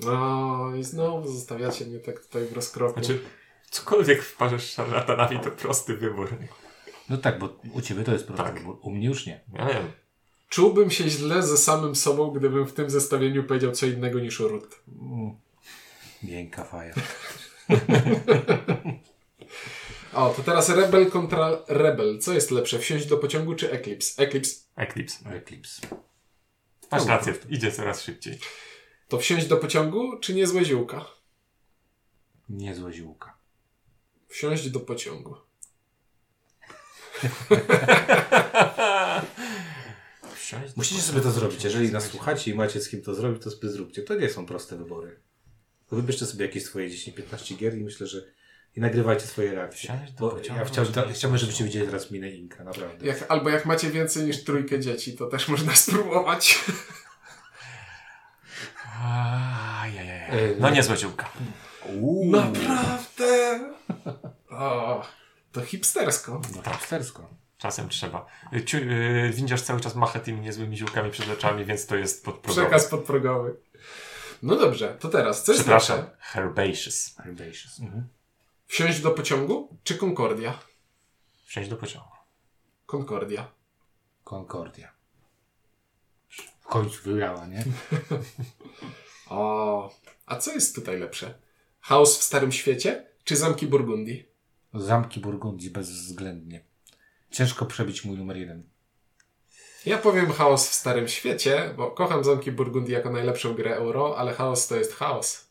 Speaker 3: No i znowu zostawiacie mnie tak tutaj w rozkroku.
Speaker 2: Znaczy, cokolwiek wparzasz szarlatanami, to prosty wybór.
Speaker 1: No tak, bo u ciebie to jest prosty
Speaker 2: Tak.
Speaker 1: wybór, u mnie już nie.
Speaker 2: Ja nie wiem.
Speaker 3: Czułbym się źle ze samym sobą, gdybym w tym zestawieniu powiedział co innego niż Rut.
Speaker 1: Miękka faja.
Speaker 3: O, to teraz Rebel kontra Rebel. Co jest lepsze, wsiąść do pociągu czy Eclipse? Eclipse.
Speaker 2: Eclipse.
Speaker 1: Eclipse.
Speaker 2: Masz
Speaker 1: Dobra.
Speaker 2: rację, idzie coraz szybciej.
Speaker 3: To wsiąść do pociągu czy niezłe ziółka?
Speaker 1: Niezłe ziółka.
Speaker 3: Wsiąść do pociągu.
Speaker 1: Musicie sobie to zrobić. Jeżeli nas słuchacie i macie z kim to zrobić, to sobie zróbcie. To nie są proste wybory. To wybierzcie sobie jakieś swoje 10-15 gier i myślę, że i nagrywajcie swoje reakcje.
Speaker 2: Wsiąść do
Speaker 1: Bo
Speaker 2: pociągu,
Speaker 1: ja chciałbym,
Speaker 2: wsiąść do
Speaker 1: chciałbym, żebyście widzieli teraz minę Inka, naprawdę.
Speaker 3: Jak, albo jak macie więcej niż trójkę dzieci, to też można spróbować.
Speaker 1: Yy,
Speaker 2: Ajajaj. No niezła ziółka.
Speaker 1: Uuu,
Speaker 3: Naprawdę! O, to hipstersko.
Speaker 2: tak.
Speaker 1: no to hipstersko.
Speaker 2: Czasem trzeba. Ciu, y, windziarz cały czas macha tymi niezłymi ziółkami przed oczami, więc to jest podprogowe.
Speaker 3: Przekaz podprogowy. No dobrze, to teraz. Co jest
Speaker 2: Przepraszam.
Speaker 3: lepsze?
Speaker 2: Herbaceous.
Speaker 1: Herbaceous. Mhm.
Speaker 3: Wsiąść do pociągu czy Concordia?
Speaker 2: Wsiąść do pociągu.
Speaker 3: Concordia.
Speaker 1: Concordia. W końcu wygrała, nie?
Speaker 3: O, a co jest tutaj lepsze? Chaos w Starym Świecie czy Zamki Burgundii?
Speaker 1: Zamki Burgundii bezwzględnie. Ciężko przebić mój numer jeden.
Speaker 3: Ja powiem Chaos w Starym Świecie, bo kocham Zamki Burgundii jako najlepszą grę euro, ale chaos to jest chaos.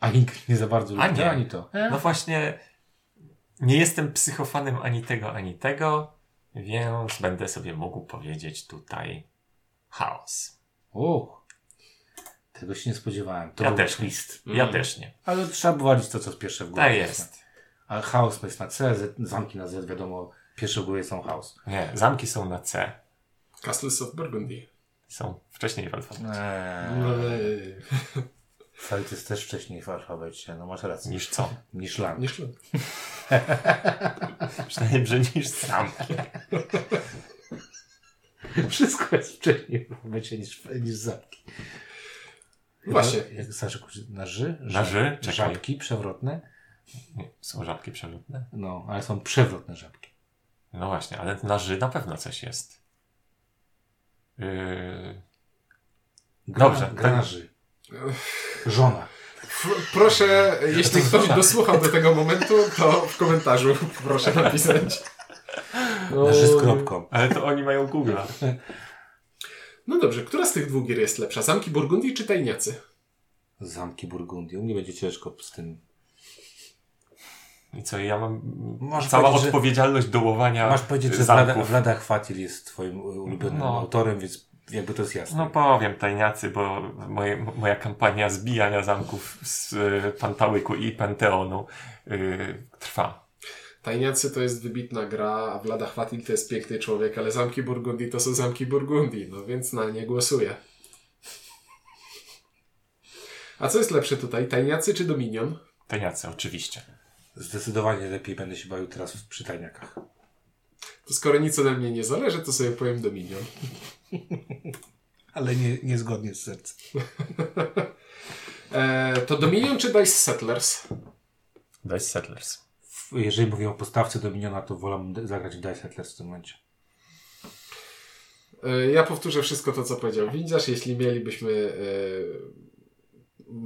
Speaker 1: A Ink nie za bardzo
Speaker 2: A
Speaker 1: lubi
Speaker 2: nie.
Speaker 1: ani to.
Speaker 2: No właśnie, nie jestem psychofanem ani tego, ani tego, więc będę sobie mógł powiedzieć tutaj chaos.
Speaker 1: O, tego się nie spodziewałem. To
Speaker 2: Ja
Speaker 1: był
Speaker 2: też.
Speaker 1: twist.
Speaker 2: Ja
Speaker 3: Mm.
Speaker 2: też nie.
Speaker 1: Ale trzeba wywalić to, co z pierwsze w głowie.
Speaker 2: Tak jest.
Speaker 1: A chaos to jest na C, Z, zamki na Z, wiadomo, pierwsze w głowie są chaos.
Speaker 2: Nie, zamki są na C.
Speaker 3: Castles of Burgundy.
Speaker 2: Są wcześniej w alfabecie
Speaker 1: Eee,
Speaker 3: Eee,
Speaker 1: ale to jest też wcześniej w alfabecie, no masz rację.
Speaker 2: niż co?
Speaker 1: Niż lan.
Speaker 3: nie szlak.
Speaker 2: Przynajmniej, że niż zamki.
Speaker 1: Wszystko jest wcześniej w alfabecie niż, niż zamki.
Speaker 3: Właśnie.
Speaker 1: Chyba Jak Staszek uczy- na ży?
Speaker 2: Na ży? Czekaj.
Speaker 1: Żabki przewrotne?
Speaker 2: Nie, Są żabki przeludne?
Speaker 1: No, ale są przewrotne żabki.
Speaker 2: No właśnie, ale na ży na pewno coś jest. Yy,
Speaker 1: Gra,
Speaker 2: Dobrze,
Speaker 1: Gra na
Speaker 2: tak.
Speaker 1: ży. Żona.
Speaker 3: Pr- Proszę, jeśli ktoś dosłuchał do tego momentu, to w komentarzu proszę napisać.
Speaker 1: Na ży z kropką.
Speaker 2: ale to oni mają Google'a.
Speaker 3: No dobrze, która z tych dwóch gier jest lepsza? Zamki Burgundii czy Tajniacy?
Speaker 1: Zamki Burgundii. U mnie będzie ciężko z tym.
Speaker 2: I co, ja mam
Speaker 1: Masz
Speaker 2: cała
Speaker 1: powiedzieć, że-
Speaker 2: odpowiedzialność dołowania
Speaker 1: Masz powiedzieć, że Vlada,
Speaker 2: zamków.
Speaker 1: Vlada Chwatil jest twoim y, ulubionym
Speaker 2: No.
Speaker 1: autorem, więc jakby to jest jasne.
Speaker 2: No powiem tajniacy, bo moje, moja kampania zbijania zamków z y, Pantałyku i Panteonu y, trwa.
Speaker 3: Tajniacy to jest wybitna gra, a Vlada Chwatil to jest piękny człowiek, ale Zamki Burgundii to są Zamki Burgundii, no więc na nie głosuję. A co jest lepsze tutaj, Tajniacy czy Dominion?
Speaker 2: Tajniacy, oczywiście.
Speaker 1: Zdecydowanie lepiej będę się bawił teraz w przytajniakach.
Speaker 3: To skoro nic ode mnie nie zależy, to sobie powiem Dominion.
Speaker 1: Ale nie, niezgodnie z sercem.
Speaker 3: Eee, to Dominion czy Dice Settlers?
Speaker 2: Dice Settlers.
Speaker 1: Jeżeli mówię o postawce Dominiona, to wolę zagrać w Dice Settlers w tym momencie.
Speaker 3: E, Ja powtórzę wszystko to, co powiedział Windziarz. Jeśli mielibyśmy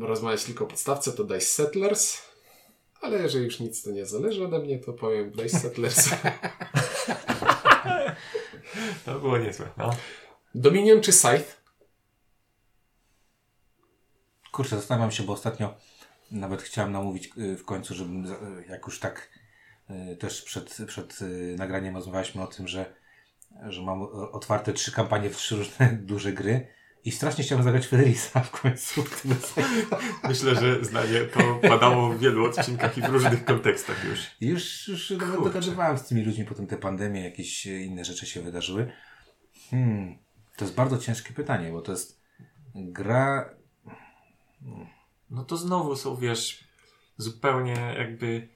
Speaker 3: e, rozmawiać tylko o podstawce, to Dice Settlers. Ale jeżeli już nic to nie zależy ode mnie, to powiem Dice Settlers.
Speaker 2: To było niezłe, no.
Speaker 3: Dominion czy Scythe?
Speaker 1: Kurczę, zastanawiam się, bo ostatnio nawet chciałem namówić y, w końcu, żebym za- y, jak już tak y, też przed, przed y, nagraniem rozmawialiśmy o tym, że, że mam o- otwarte trzy kampanie w trzy różne duże gry i strasznie chciałem zagrać Federisa w końcu. w tym sezonie.
Speaker 2: Myślę, że zdanie to padało w wielu odcinkach i w różnych kontekstach już.
Speaker 1: I Już, już nawet
Speaker 2: Kurczę.
Speaker 1: dogadywałem z tymi ludźmi, potem te pandemie, jakieś y, inne rzeczy się wydarzyły. Hmm, to jest bardzo ciężkie pytanie, bo to jest gra...
Speaker 2: No to znowu są, wiesz, zupełnie jakby...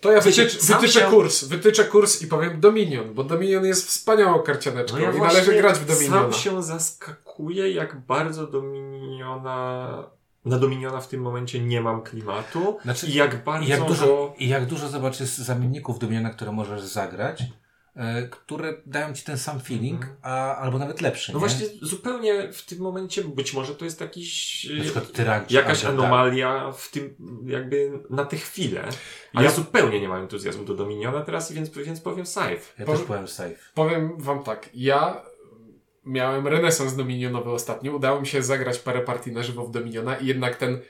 Speaker 3: To ja
Speaker 2: Przecież
Speaker 3: wytycz,
Speaker 2: sam
Speaker 3: wytyczę
Speaker 2: się-
Speaker 3: kurs, wytyczę kurs i powiem Dominion, bo Dominion jest wspaniałą karcianeczką No i należy grać w Dominiona.
Speaker 2: No sam się zaskakuje, jak bardzo Dominiona... Na Dominiona w tym momencie nie mam klimatu.
Speaker 1: Znaczy,
Speaker 2: I jak bardzo
Speaker 1: I jak,
Speaker 2: go...
Speaker 1: dużo, I jak dużo zobaczysz zamienników Dominiona, które możesz zagrać, e, które dają ci ten sam feeling,
Speaker 2: Mhm.
Speaker 1: a, albo nawet lepszy.
Speaker 2: No
Speaker 1: nie?
Speaker 2: właśnie zupełnie w tym momencie być może to jest jakiś... y,
Speaker 1: Na przykład Tak, Tyrant czy
Speaker 2: jakaś
Speaker 1: Underdark.
Speaker 2: anomalia w tym jakby na tę chwilę. Ale ja
Speaker 3: Ja-
Speaker 2: zupełnie nie mam entuzjazmu do Dominiona teraz, więc, więc powiem Scythe.
Speaker 1: Ja
Speaker 3: Powie-
Speaker 1: też powiem safe.
Speaker 3: Powiem wam tak, ja miałem renesans Dominionowy ostatnio, udało mi się zagrać parę partii na żywo w Dominiona i jednak ten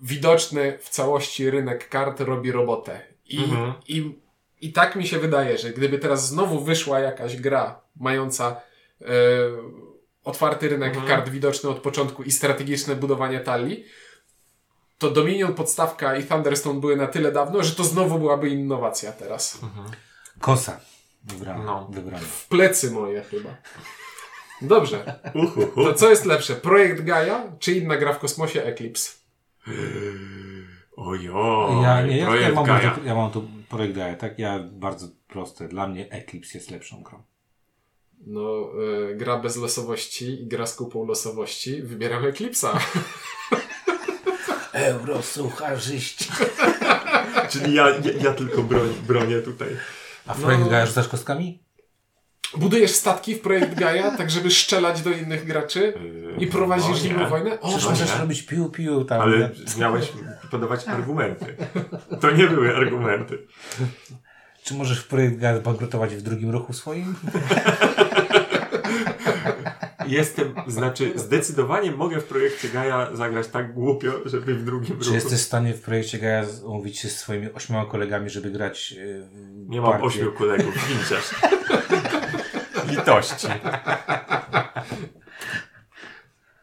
Speaker 3: widoczny w całości rynek kart robi robotę. I,
Speaker 2: Mhm.
Speaker 3: i, i tak mi się wydaje, że gdyby teraz znowu wyszła jakaś gra mająca e, otwarty rynek
Speaker 2: Mhm.
Speaker 3: kart widoczny od początku i strategiczne budowanie talii, to Dominion, Podstawka i Thunderstone były na tyle dawno, że to znowu byłaby innowacja teraz.
Speaker 1: Kosa. Wybrana.
Speaker 2: No.
Speaker 1: Wybrana.
Speaker 3: W plecy moje chyba. Dobrze,
Speaker 2: Uhuhu.
Speaker 3: to co jest lepsze? Projekt Gaia czy inna gra w kosmosie Eclipse?
Speaker 2: Ojo,
Speaker 1: Ja, nie, ja, ja,
Speaker 2: projekt
Speaker 1: mam
Speaker 2: Gaia.
Speaker 1: bardzo, ja mam tu projekt Gaia, tak? Ja bardzo proste. Dla mnie Eclipse jest lepszą grą.
Speaker 3: No, y, gra bez losowości i gra z kupą losowości. Wybieram Eclipse'a.
Speaker 1: Eurosucharzyści.
Speaker 2: Czyli ja, ja, ja tylko broń, bronię tutaj.
Speaker 1: A w projekt
Speaker 3: No.
Speaker 1: Gaia rzucasz kostkami?
Speaker 3: Budujesz statki w Projekt Gaia, tak żeby strzelać do innych graczy i prowadzisz
Speaker 2: no nie.
Speaker 3: zimną wojnę? O,
Speaker 1: Przecież
Speaker 2: nie.
Speaker 1: możesz robić piu, piu, tam.
Speaker 2: Ale miałeś podawać argumenty. To nie były argumenty.
Speaker 1: Czy możesz w projekt Gaia bankrutować w drugim ruchu swoim?
Speaker 2: Jestem, znaczy zdecydowanie mogę w projekcie Gaia zagrać tak głupio, żeby w drugim
Speaker 1: Czy
Speaker 2: ruchu...
Speaker 1: jesteś w stanie w projekcie Gaia z- umówić się z swoimi ośmioma kolegami, żeby grać yy,
Speaker 2: Nie mam ośmiu kolegów, widzisz. Litości.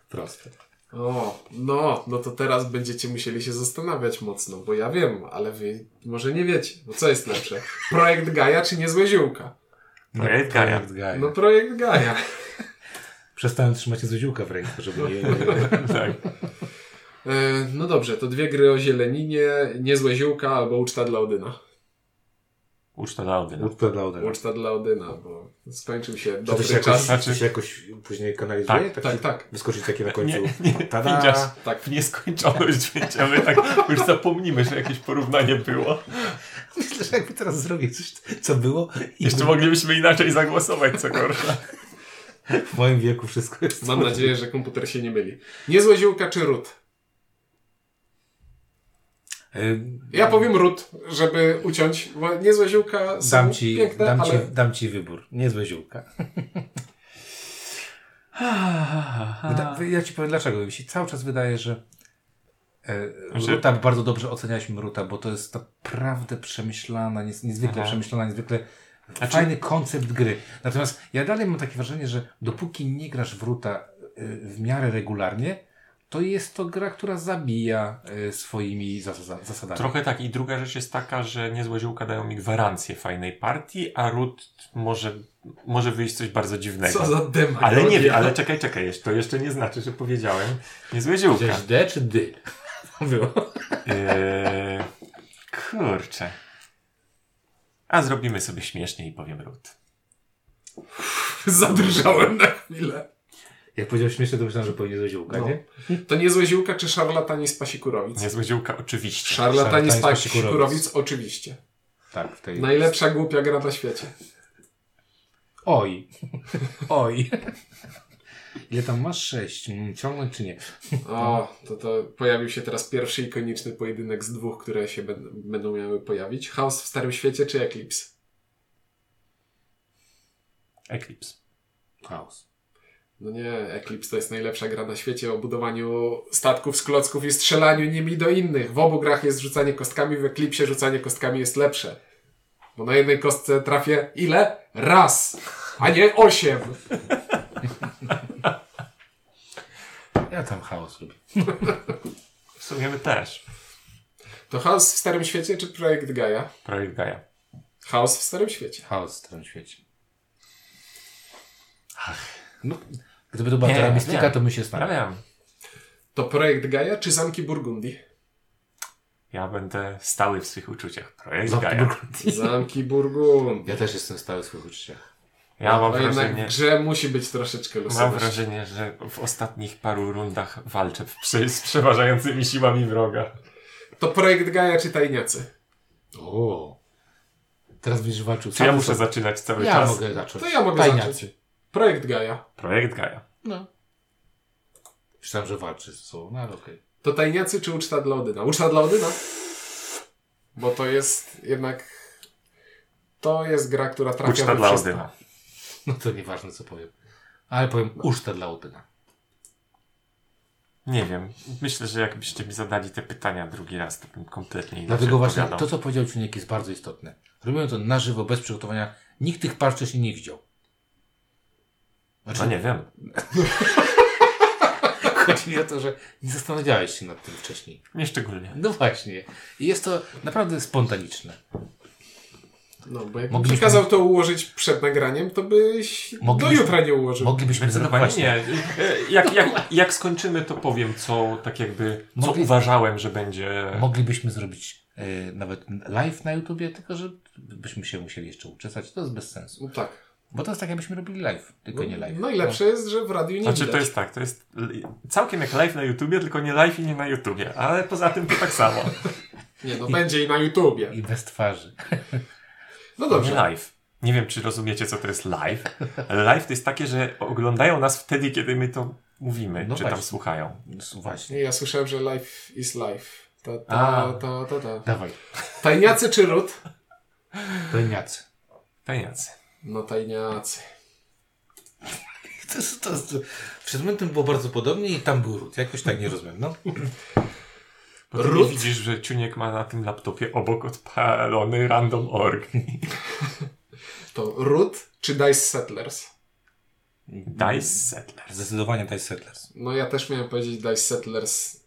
Speaker 1: Proste.
Speaker 3: o, no, no to teraz będziecie musieli się zastanawiać mocno, bo ja wiem, ale wy może nie wiecie. No co jest lepsze? Projekt Gaia czy niezłe ziółka?
Speaker 1: No,
Speaker 2: Projekt Gaia.
Speaker 1: Projekt Gaia.
Speaker 3: No, Projekt Gaia.
Speaker 1: Przestałem trzymać się z ziółka w ręku, żeby nie...
Speaker 2: Tak.
Speaker 3: E, No dobrze, to dwie gry o zieleninie, niezłe ziółka albo uczta dla Odyna.
Speaker 2: Uczta dla Odyna.
Speaker 1: Łódka dla Odera.
Speaker 3: Uczta dla Odyna, bo skończył się
Speaker 1: Tak. Czy to
Speaker 3: dobry
Speaker 1: się jakoś,
Speaker 3: czas.
Speaker 1: czy to się jakoś później kanalizuje?
Speaker 3: tak,
Speaker 1: się-
Speaker 3: tak.
Speaker 1: Wyskoczy takie na końcu.
Speaker 2: nie,
Speaker 1: Tada!
Speaker 2: widzisz?
Speaker 3: Tak,
Speaker 2: W nieskończoność będziemy tak, już zapomnimy, że jakieś porównanie było.
Speaker 1: Myślę, że jakby teraz zrobię coś, co było i
Speaker 2: Jeszcze moglibyśmy inaczej zagłosować, co gorsza.
Speaker 1: w moim wieku wszystko jest...
Speaker 3: mam nadzieję, że komputer się nie myli. Niezłe ziółka czy ród?
Speaker 1: Yy,
Speaker 3: Ja powiem ród, żeby uciąć, bo niezłe ziółka są
Speaker 1: dam, ci,
Speaker 3: piękne,
Speaker 1: dam,
Speaker 3: ale...
Speaker 1: ci, dam ci wybór. Niezłe ziółka. Wyda- wy- Ja ci powiem dlaczego. Mi się cały czas wydaje, że e,
Speaker 2: Że-
Speaker 1: Ruta, bardzo dobrze ocenialiśmy Ruta, bo to jest naprawdę przemyślana, nies- niezwykle
Speaker 2: Aha.
Speaker 1: przemyślana, niezwykle
Speaker 2: Znaczy-
Speaker 1: fajny koncept gry. Natomiast ja dalej mam takie wrażenie, że dopóki nie grasz w Ruta e, w miarę regularnie, to jest to gra, która zabija e, swoimi zas- zasadami.
Speaker 2: Trochę tak. I druga rzecz jest taka, że niezłe ziółka dają mi gwarancję fajnej partii, a Rut może, może wyjść coś bardzo dziwnego.
Speaker 3: Co za demagogia.
Speaker 2: Ale nie wiem, ale czekaj, czekaj, jeszcze- to jeszcze nie znaczy, że powiedziałem niezłe ziółka.
Speaker 1: Powiedziałeś D czy dy? Było.
Speaker 2: Eee, kurczę. A zrobimy sobie śmiesznie i powiem Rut.
Speaker 3: Zadrżałem na chwilę.
Speaker 1: Jak powiedział śmiesznie, to myślałem, że powinien do ziółka,
Speaker 3: No.
Speaker 1: nie?
Speaker 3: To niezłe ziółka czy szarlatani z pasikurowic?
Speaker 2: Niezłe ziółka, oczywiście.
Speaker 3: Szarlatani z
Speaker 1: Szarlatani z
Speaker 3: pasikurowic, oczywiście.
Speaker 1: Tak, w tej...
Speaker 3: Najlepsza głupia gra na świecie.
Speaker 1: Oj. Oj. Ile tam masz? Sześć. Mm, Ciągnąć czy nie?
Speaker 3: O, to, to pojawił się teraz pierwszy ikoniczny pojedynek z dwóch, które się ben, będą miały pojawić. Chaos w Starym Świecie czy Eclipse?
Speaker 2: Eclipse.
Speaker 1: Chaos.
Speaker 3: No nie, Eclipse to jest najlepsza gra na świecie o budowaniu statków z klocków i strzelaniu nimi do innych. W obu grach jest rzucanie kostkami, w Eclipsie rzucanie kostkami jest lepsze. Bo na jednej kostce trafię ile? Raz, a nie osiem.
Speaker 1: Ja tam chaos lubię.
Speaker 2: W sumie my też.
Speaker 3: To chaos w Starym Świecie czy Projekt Gaia?
Speaker 2: Projekt Gaia.
Speaker 3: Chaos w Starym Świecie.
Speaker 1: Chaos w starym świecie. Ach. No, gdyby to była Terra Mystica,
Speaker 2: wiem.
Speaker 1: to my się znali.
Speaker 2: Ja wiem.
Speaker 3: To Projekt Gaia czy Zamki Burgundii?
Speaker 2: Ja będę stały w swych uczuciach. Projekt
Speaker 1: Zamki
Speaker 2: Gaia.
Speaker 1: Burgundii.
Speaker 3: Zamki Burgundii.
Speaker 1: Ja też jestem stały w swoich uczuciach.
Speaker 2: Ja mam
Speaker 3: A No jednak w
Speaker 2: wrażenie,
Speaker 3: grze musi być troszeczkę
Speaker 2: mam
Speaker 3: losowości.
Speaker 2: wrażenie, że w ostatnich paru rundach walczę w przy, z przeważającymi siłami wroga.
Speaker 3: To Projekt Gaia czy Tajniacy?
Speaker 1: O. Teraz będziesz walczył
Speaker 2: Czy ja
Speaker 1: sam
Speaker 2: muszę
Speaker 1: ze sobą.
Speaker 2: zaczynać cały
Speaker 1: Ja
Speaker 2: czas?
Speaker 1: mogę zacząć.
Speaker 3: To ja mogę
Speaker 1: Tajniacy.
Speaker 3: zacząć. Projekt Gaia.
Speaker 2: Projekt Gaia.
Speaker 1: Myślałem, że walczy ze sobą, no ale okej.
Speaker 3: To tajniacy czy uczta dla Odyna? Uczta dla Odyna? Bo to jest jednak... To jest gra, która
Speaker 1: Tak,
Speaker 3: trafia
Speaker 2: Uczta
Speaker 3: we
Speaker 2: dla
Speaker 3: wszystko.
Speaker 2: Odyna.
Speaker 1: No to nieważne, co powiem. Ale powiem ucztę dla Odyna.
Speaker 2: Nie wiem. Myślę, że jakbyście mi zadali te pytania drugi raz, to bym kompletnie inaczej
Speaker 1: Dlatego właśnie
Speaker 2: odpowiadał.
Speaker 1: to, co powiedział Ciuniek, jest bardzo istotne. Robiłem to na żywo, bez przygotowania. Nikt tych par wcześniej nie widział. Znaczy,
Speaker 2: No nie wiem.
Speaker 1: chodzi mi o to, że nie zastanawiałeś się nad tym wcześniej.
Speaker 2: Nie szczególnie.
Speaker 1: No właśnie. I jest to naprawdę spontaniczne.
Speaker 2: Znaczy,
Speaker 3: No, bo jakbym
Speaker 1: Mogliśmy-
Speaker 3: przekazał to ułożyć przed nagraniem, to byś
Speaker 1: Mogliśmy-
Speaker 3: do jutra nie ułożył.
Speaker 1: Moglibyśmy
Speaker 2: Zdecydowanie
Speaker 1: właśnie,
Speaker 2: nie. E, Jak, jak, jak skończymy, to powiem, co tak jakby, co
Speaker 1: Mogli-
Speaker 2: uważałem, że będzie...
Speaker 1: Moglibyśmy zrobić y, nawet live na YouTubie, tylko że byśmy się musieli jeszcze uczesać. To jest bez sensu.
Speaker 3: No tak.
Speaker 1: Bo to jest tak, jakbyśmy robili live, tylko
Speaker 2: No,
Speaker 1: nie live.
Speaker 3: Najlepsze jest, że w radiu nie
Speaker 2: Znaczy
Speaker 3: widać.
Speaker 2: to jest tak, to jest li- całkiem jak live na YouTubie, tylko nie live i nie na YouTubie, ale poza tym to tak samo.
Speaker 3: Nie, no będzie i na YouTubie.
Speaker 1: I bez twarzy.
Speaker 3: No
Speaker 2: Nie
Speaker 3: dobrze.
Speaker 2: live. Nie wiem, czy rozumiecie, co to jest live, ale live to jest takie, że oglądają nas wtedy, kiedy my to mówimy,
Speaker 1: No
Speaker 2: czy
Speaker 1: właśnie.
Speaker 2: tam słuchają.
Speaker 1: No Właśnie.
Speaker 3: Nie, ja słyszałem, że life is life. To,
Speaker 2: A.
Speaker 3: to, to, to, to.
Speaker 1: Dawaj,
Speaker 3: Tajniacy czy Rut?
Speaker 1: peniacy.
Speaker 2: Tajniacy.
Speaker 3: No tajniacy.
Speaker 1: To, jest- to, jest- przed momentem było bardzo podobnie i tam był ród. Jakoś tak nie rozumiem. No.
Speaker 2: Bo ty nie
Speaker 3: Ród?
Speaker 2: widzisz, że Ciuniek ma na tym laptopie obok odpalony random.org.
Speaker 3: To Rut czy Dice Settlers?
Speaker 2: Dice Settlers.
Speaker 1: Zdecydowanie Dice Settlers.
Speaker 3: No ja też miałem powiedzieć Dice Settlers.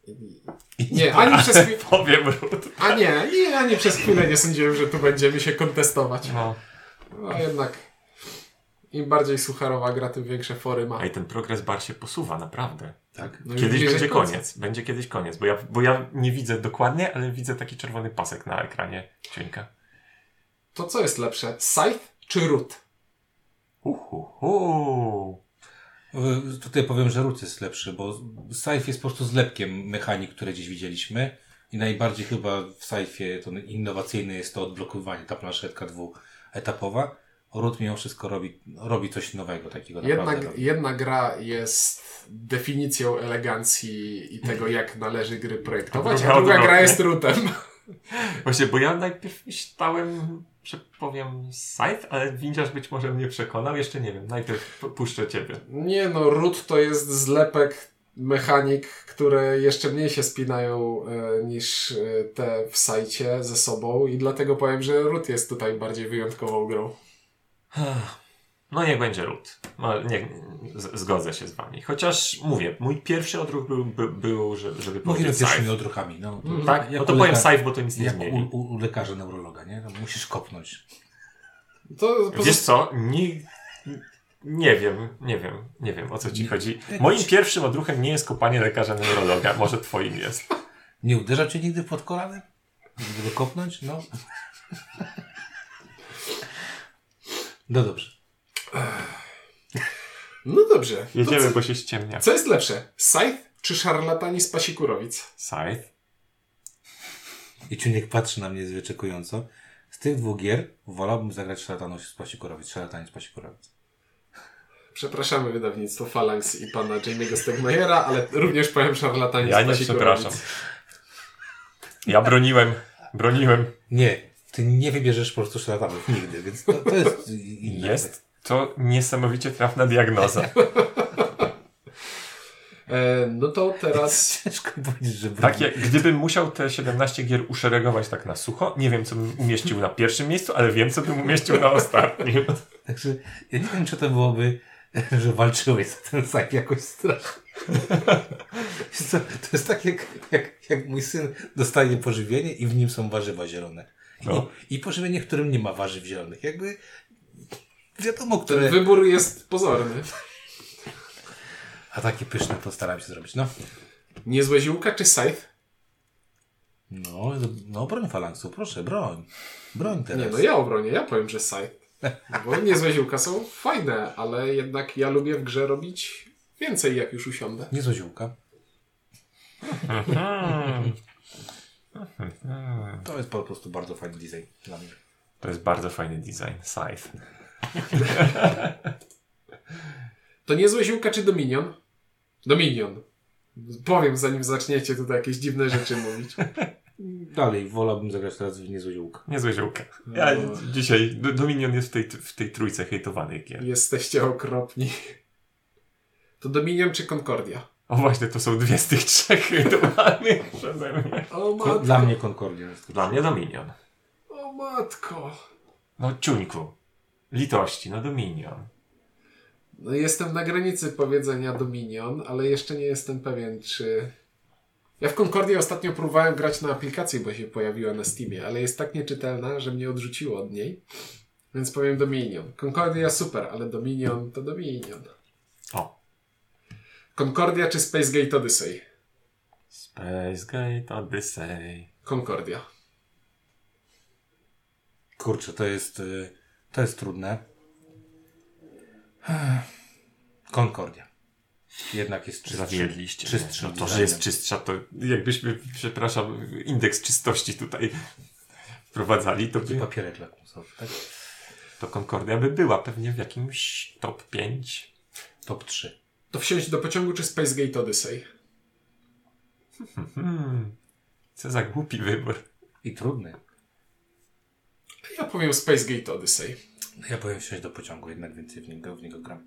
Speaker 1: I
Speaker 3: Nie, ani przez chwilę...
Speaker 2: Powiem Ród.
Speaker 3: A nie, nie, ani przez chwilę nie sądziłem, że tu będziemy się kontestować.
Speaker 2: No.
Speaker 3: No jednak im bardziej sucharowa gra, tym większe fory ma.
Speaker 2: Ej, ten progres bar się posuwa, naprawdę.
Speaker 1: Tak.
Speaker 3: No i
Speaker 2: Kiedyś
Speaker 3: bliżej
Speaker 2: będzie
Speaker 3: końca.
Speaker 2: koniec. Będzie kiedyś koniec, bo ja, bo ja nie widzę dokładnie, ale widzę taki czerwony pasek na ekranie Ciuńka.
Speaker 3: To co jest lepsze, Scythe czy Root?
Speaker 2: Uhuhu.
Speaker 1: Y, Tutaj powiem, że ród jest lepszy, bo Scythe jest po prostu zlepkiem mechanik, które gdzieś widzieliśmy. I najbardziej chyba w Scythe to innowacyjne jest to odblokowanie, ta planszetka dwuetapowa. Ród mimo wszystko robi, robi coś nowego takiego
Speaker 3: Jedna,
Speaker 1: naprawdę. robi.
Speaker 3: jedna gra jest definicją elegancji i tego, jak należy gry projektować, a
Speaker 2: Dobra,
Speaker 3: druga gra
Speaker 2: odwrotnie.
Speaker 3: jest Rootem.
Speaker 2: Właśnie, bo ja najpierw myślałem, że powiem Scythe, ale Windziarz być może mnie przekonał. Jeszcze nie wiem. Najpierw pu- puszczę ciebie.
Speaker 3: Nie no, Root to jest zlepek mechanik, które jeszcze mniej się spinają e, niż e, te w sajcie ze sobą i dlatego powiem, że Root jest tutaj bardziej wyjątkową grą.
Speaker 2: No niech będzie Ród. No, nie, z, zgodzę się z wami. Chociaż mówię, mój pierwszy odruch był, by, był że- żeby
Speaker 1: Mówimy
Speaker 2: powiedzieć
Speaker 1: No, pierwszymi
Speaker 2: Scythe.
Speaker 1: odruchami. No,
Speaker 2: Tak? No
Speaker 1: jak
Speaker 2: to
Speaker 1: u
Speaker 2: powiem
Speaker 1: leka-
Speaker 2: Scythe, bo to nic nie
Speaker 1: Jak u,
Speaker 2: zmieni.
Speaker 1: u, u lekarza neurologa, nie? No, musisz kopnąć.
Speaker 3: To poza-
Speaker 2: No Wiesz co? Nie, nie wiem, nie wiem, nie wiem o co ci chodzi. Moim pierwszym odruchem nie jest kopanie lekarza neurologa, może twoim jest.
Speaker 1: Nie uderza cię nigdy pod kolanem? Żeby go kopnąć? No. No dobrze.
Speaker 3: No dobrze. To
Speaker 2: Jedziemy,
Speaker 3: co-
Speaker 2: bo się ściemnia.
Speaker 3: Co jest lepsze? Scythe czy szarlatani z pasikurowic?
Speaker 2: Scythe?
Speaker 1: I Ciuniek patrzy na mnie wyczekująco. Z tych dwóch gier wolałbym zagrać szalatanów z Pasikorowic. Szalatanie z Pasikorowic.
Speaker 3: Przepraszamy wydawnictwo Phalanx i pana Jamie'ego Stegmajera, ale również powiem szarlatani
Speaker 2: Ja
Speaker 3: z
Speaker 2: nie
Speaker 3: pasikurowic.
Speaker 2: przepraszam. Ja broniłem, broniłem.
Speaker 1: Nie, ty nie wybierzesz po prostu szalatanów nigdy, więc to, to jest inne.
Speaker 2: Jest To niesamowicie trafna diagnoza.
Speaker 3: E, no to teraz.
Speaker 1: Ciężko powiedzieć, że brudny.
Speaker 2: Tak, jak, gdybym musiał te 17 gier uszeregować tak na sucho, nie wiem, co bym umieścił na pierwszym miejscu, ale wiem, co bym umieścił na ostatnim.
Speaker 1: Także ja nie wiem, czy to byłoby, że walczyłeś za ten sak jakoś strasznie. Wiesz co, to jest tak, jak, jak, jak mój syn dostaje pożywienie i w nim są warzywa zielone.
Speaker 2: No.
Speaker 1: I, I pożywienie, w którym nie ma warzyw zielonych. Jakby wiadomo, które...
Speaker 3: Ten wybór jest pozorny.
Speaker 1: A takie pyszne postaram się zrobić. No,
Speaker 3: Niezłe ziółka czy scythe?
Speaker 1: no, no broń falangsu, proszę, broń. Broń teraz.
Speaker 3: Nie, no ja obronię, ja powiem, że scythe. Bo niezłe ziółka są fajne, ale jednak ja lubię w grze robić więcej, jak już usiądę.
Speaker 1: Nie zoziółka. To jest po prostu bardzo fajny design dla mnie.
Speaker 2: To jest bardzo fajny design. Scythe.
Speaker 3: To niezłe ziółka czy Dominion? Dominion. Powiem, zanim zaczniecie tutaj jakieś dziwne rzeczy mówić.
Speaker 1: Dalej, wolałbym zagrać teraz w niezłoziółka.
Speaker 2: Niezłe ziółka. Ja dzisiaj, D- Dominion jest w tej, w tej trójce hejtowanych gier.
Speaker 3: Jesteście okropni. To Dominion czy Concordia?
Speaker 2: O właśnie, to są dwie z tych trzech hejtowanych przeze mnie.
Speaker 3: O
Speaker 1: Ko-
Speaker 3: matko,
Speaker 1: dla mnie Concordia jest.
Speaker 2: Dla mnie Dominion.
Speaker 3: o matko.
Speaker 2: No ciuńku. Litości, no Dominion.
Speaker 3: No, jestem na granicy powiedzenia Dominion, ale jeszcze nie jestem pewien, czy... Ja w Concordia ostatnio próbowałem grać na aplikacji, bo się pojawiła na Steamie, ale jest tak nieczytelna, że mnie odrzuciło od niej. Więc powiem Dominion. Concordia super, ale Dominion to Dominion.
Speaker 2: O.
Speaker 3: Concordia czy Space Gate Odyssey?
Speaker 2: Space Gate Odyssey.
Speaker 3: Concordia.
Speaker 1: Kurczę, to jest, y, to jest trudne. Concordia. Jednak jest czystszy.
Speaker 2: Zawiedliście.
Speaker 1: Czystszy.
Speaker 2: no to, że
Speaker 1: designem.
Speaker 2: jest czystsza, to jakbyśmy, przepraszam, indeks czystości tutaj wprowadzali, to,
Speaker 1: I
Speaker 2: by,
Speaker 1: papierek lakmusowy, tak?
Speaker 2: to Concordia by była pewnie w jakimś top 5.
Speaker 1: Top 3.
Speaker 3: To wsiąść do pociągu czy Space Gate Odyssey?
Speaker 2: Hmm. Co za głupi wybór.
Speaker 1: I trudny.
Speaker 3: Ja powiem Space Gate Odyssey.
Speaker 1: No Ja powiem wsiąść do pociągu, jednak więcej w niego, w niego gram.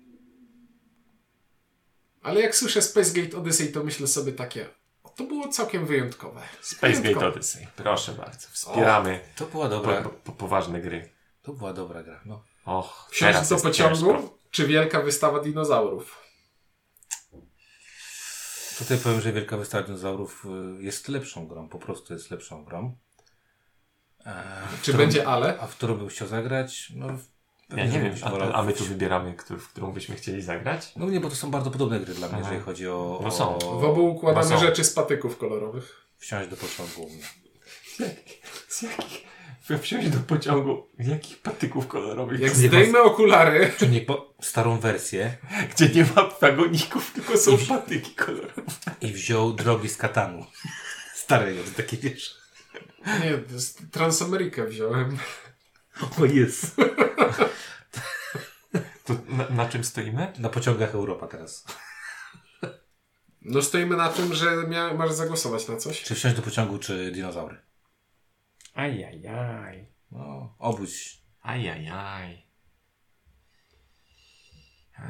Speaker 3: Ale jak słyszę Space Gate Odyssey, to myślę sobie takie. "O, To było całkiem wyjątkowe.
Speaker 2: Space Gate
Speaker 3: Wyjątkowe.
Speaker 2: Odyssey. Proszę bardzo. Wspieramy
Speaker 1: To była
Speaker 2: po,
Speaker 1: dobra,
Speaker 2: po, po poważne gry.
Speaker 1: to była dobra gra, no.
Speaker 2: Och, teraz
Speaker 3: Wsiąść do
Speaker 2: jest
Speaker 3: pociągu
Speaker 2: ciężko.
Speaker 3: czy wielka wystawa dinozaurów?
Speaker 1: Tutaj powiem, że Wielka Wystawa Dinozaurów y, jest lepszą grą, po prostu jest lepszą grą. Eee,
Speaker 3: Czy będzie ale?
Speaker 1: A w którą bym chciał zagrać? No,
Speaker 2: Ja
Speaker 1: pewnie
Speaker 2: nie wiem,
Speaker 1: bym się wolał
Speaker 2: a, a my tu
Speaker 1: wrócić.
Speaker 2: wybieramy, któr, w którą byśmy chcieli zagrać?
Speaker 1: No nie, bo to są bardzo podobne gry dla mnie,
Speaker 2: Aha.
Speaker 1: jeżeli chodzi o,
Speaker 2: No są.
Speaker 1: o
Speaker 3: W obu układamy
Speaker 2: bo są.
Speaker 3: rzeczy z patyków kolorowych.
Speaker 1: wsiąść do pociągu u mnie.
Speaker 2: Z jakich? Wsiąść do pociągu. Jakich patyków kolorowych?
Speaker 3: Jak zdejmę okulary,
Speaker 1: Czy nie po starą wersję
Speaker 2: tak, Gdzie nie ma wagoników, tylko są patyki kolorowe.
Speaker 1: i wziął drogi z katanu. Starego, to takie wiesz.
Speaker 3: nie, z Transamerikę wziąłem.
Speaker 1: O jest.
Speaker 2: To na, na czym stoimy?
Speaker 1: Na pociągach Europa teraz.
Speaker 3: No stoimy na tym, że mia- masz zagłosować na coś.
Speaker 1: Czy wsiąść do pociągu, czy dinozaury?
Speaker 2: Ajajaj.
Speaker 1: No, obudź.
Speaker 2: Ajajaj. Eee,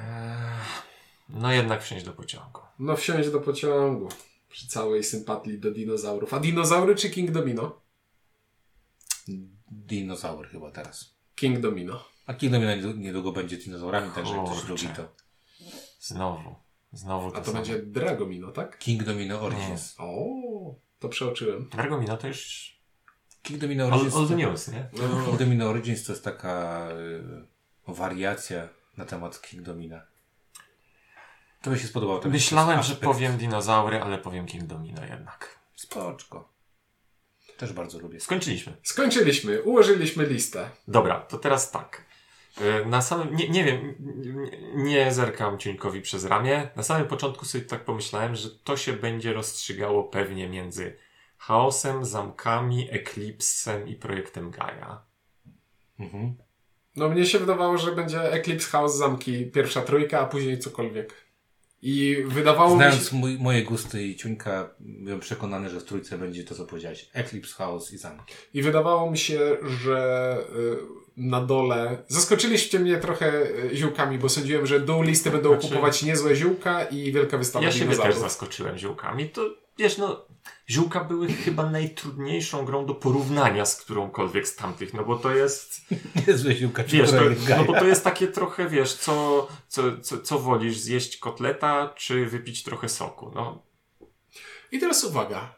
Speaker 2: No jednak wsiąść do pociągu.
Speaker 3: No wsiąść do pociągu. Przy całej sympatii do dinozaurów. A dinozaury czy King Domino?
Speaker 1: Dinozaury chyba teraz.
Speaker 3: King Domino.
Speaker 1: A Kingdom niedługo- niedługo będzie dinozaurami, także jak ktoś
Speaker 2: Kurczę.
Speaker 1: lubi to.
Speaker 2: Znowu. Znowu to,
Speaker 3: A to
Speaker 2: samo.
Speaker 3: będzie Dragomino, tak?
Speaker 1: King
Speaker 2: No.
Speaker 1: Domino Origins.
Speaker 3: O, to przeoczyłem.
Speaker 2: Dragomino no to już...
Speaker 1: King Domino
Speaker 2: Old,
Speaker 1: Origins.
Speaker 2: old
Speaker 1: to-
Speaker 2: news, nie?
Speaker 1: King Domino Origins to jest taka y, wariacja na temat King Domina. To mi się spodobało. tak Ten
Speaker 2: Myślałem, że
Speaker 1: aspekt.
Speaker 2: powiem dinozaury, ale powiem King Domino jednak.
Speaker 1: Spoczko. Też bardzo lubię.
Speaker 2: Skończyliśmy.
Speaker 3: Skończyliśmy, ułożyliśmy listę.
Speaker 2: Dobra, to teraz tak. E, Na samym, nie, nie wiem, nie, nie zerkam Ciuńkowi przez ramię. Na samym początku sobie tak pomyślałem, że to się będzie rozstrzygało pewnie między chaosem, zamkami, eklipsem i projektem Gaia.
Speaker 1: Mhm.
Speaker 3: No mnie się wydawało, że będzie Eclipse House, zamki, pierwsza trójka, a później cokolwiek. I wydawało mi się...
Speaker 1: Znając mój, moje gusty i ciuńka, byłem przekonany, że w trójce będzie to, co powiedziałeś. Eclipse, House i Zamki.
Speaker 3: I wydawało mi się, że y, na dole. Zaskoczyliście mnie trochę y, ziółkami, bo sądziłem, że dół listy będą
Speaker 2: Znaczy-
Speaker 3: kupować niezłe ziółka i wielka wystawa
Speaker 2: Ja siebie też
Speaker 3: dinozaurów.
Speaker 2: zaskoczyłem ziółkami. To wiesz, no, ziółka były chyba najtrudniejszą grą do porównania z którąkolwiek z tamtych, no bo to jest.
Speaker 1: Niezłe ziółka, czy
Speaker 2: Wiesz, to,
Speaker 1: kolejny
Speaker 2: no
Speaker 1: gaja.
Speaker 2: bo to jest takie trochę, wiesz, co, co, co, co wolisz, zjeść kotleta, czy wypić trochę soku, no.
Speaker 3: I teraz uwaga,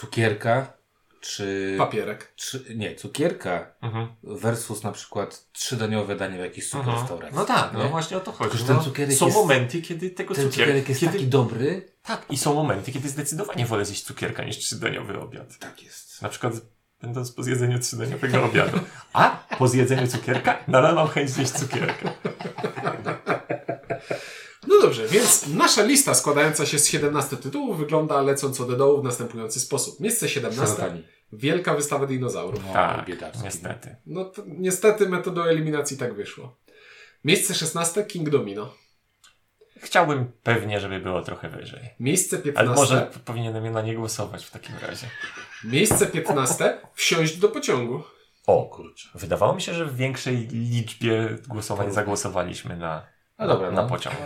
Speaker 1: Cukierka, czy...
Speaker 3: papierek.
Speaker 1: Trzy, nie, cukierka
Speaker 2: Mhm.
Speaker 1: versus na przykład trzydaniowe danie w jakiejś super restauracji.
Speaker 2: No tak, no
Speaker 1: nie?
Speaker 2: właśnie o to chodzi.
Speaker 1: Tylko, że ten
Speaker 2: No,
Speaker 1: cukierek
Speaker 2: są
Speaker 1: jest-
Speaker 2: momenty, kiedy tego
Speaker 1: Ten
Speaker 2: cukierka...
Speaker 1: cukierek jest
Speaker 2: kiedy...
Speaker 1: taki dobry.
Speaker 2: Tak, i są momenty, kiedy zdecydowanie wolę zjeść cukierka niż trzydaniowy obiad.
Speaker 1: Tak jest.
Speaker 2: Na przykład będąc po zjedzeniu trzydaniowego obiadu. A po zjedzeniu cukierka nadal mam chęć zjeść cukierka.
Speaker 3: No dobrze, więc nasza lista składająca się z 17 tytułów wygląda lecąc od dołu w następujący sposób. Miejsce 17.
Speaker 1: Szarlatani.
Speaker 3: Wielka wystawa dinozaurów.
Speaker 1: No,
Speaker 2: tak,
Speaker 1: biedacki.
Speaker 2: niestety.
Speaker 3: No to, niestety metodą eliminacji tak wyszło. Miejsce 16. King Domino.
Speaker 2: Chciałbym pewnie, żeby było trochę wyżej.
Speaker 3: Miejsce 15.
Speaker 2: Ale może p- powinienem je na nie głosować w takim razie.
Speaker 3: Miejsce 15. Wsiąść do pociągu.
Speaker 1: O
Speaker 2: O,
Speaker 1: kurczę.
Speaker 2: wydawało mi się, że w większej liczbie głosowań zagłosowaliśmy na,
Speaker 1: No dobra,
Speaker 2: na
Speaker 1: no.
Speaker 2: pociąg.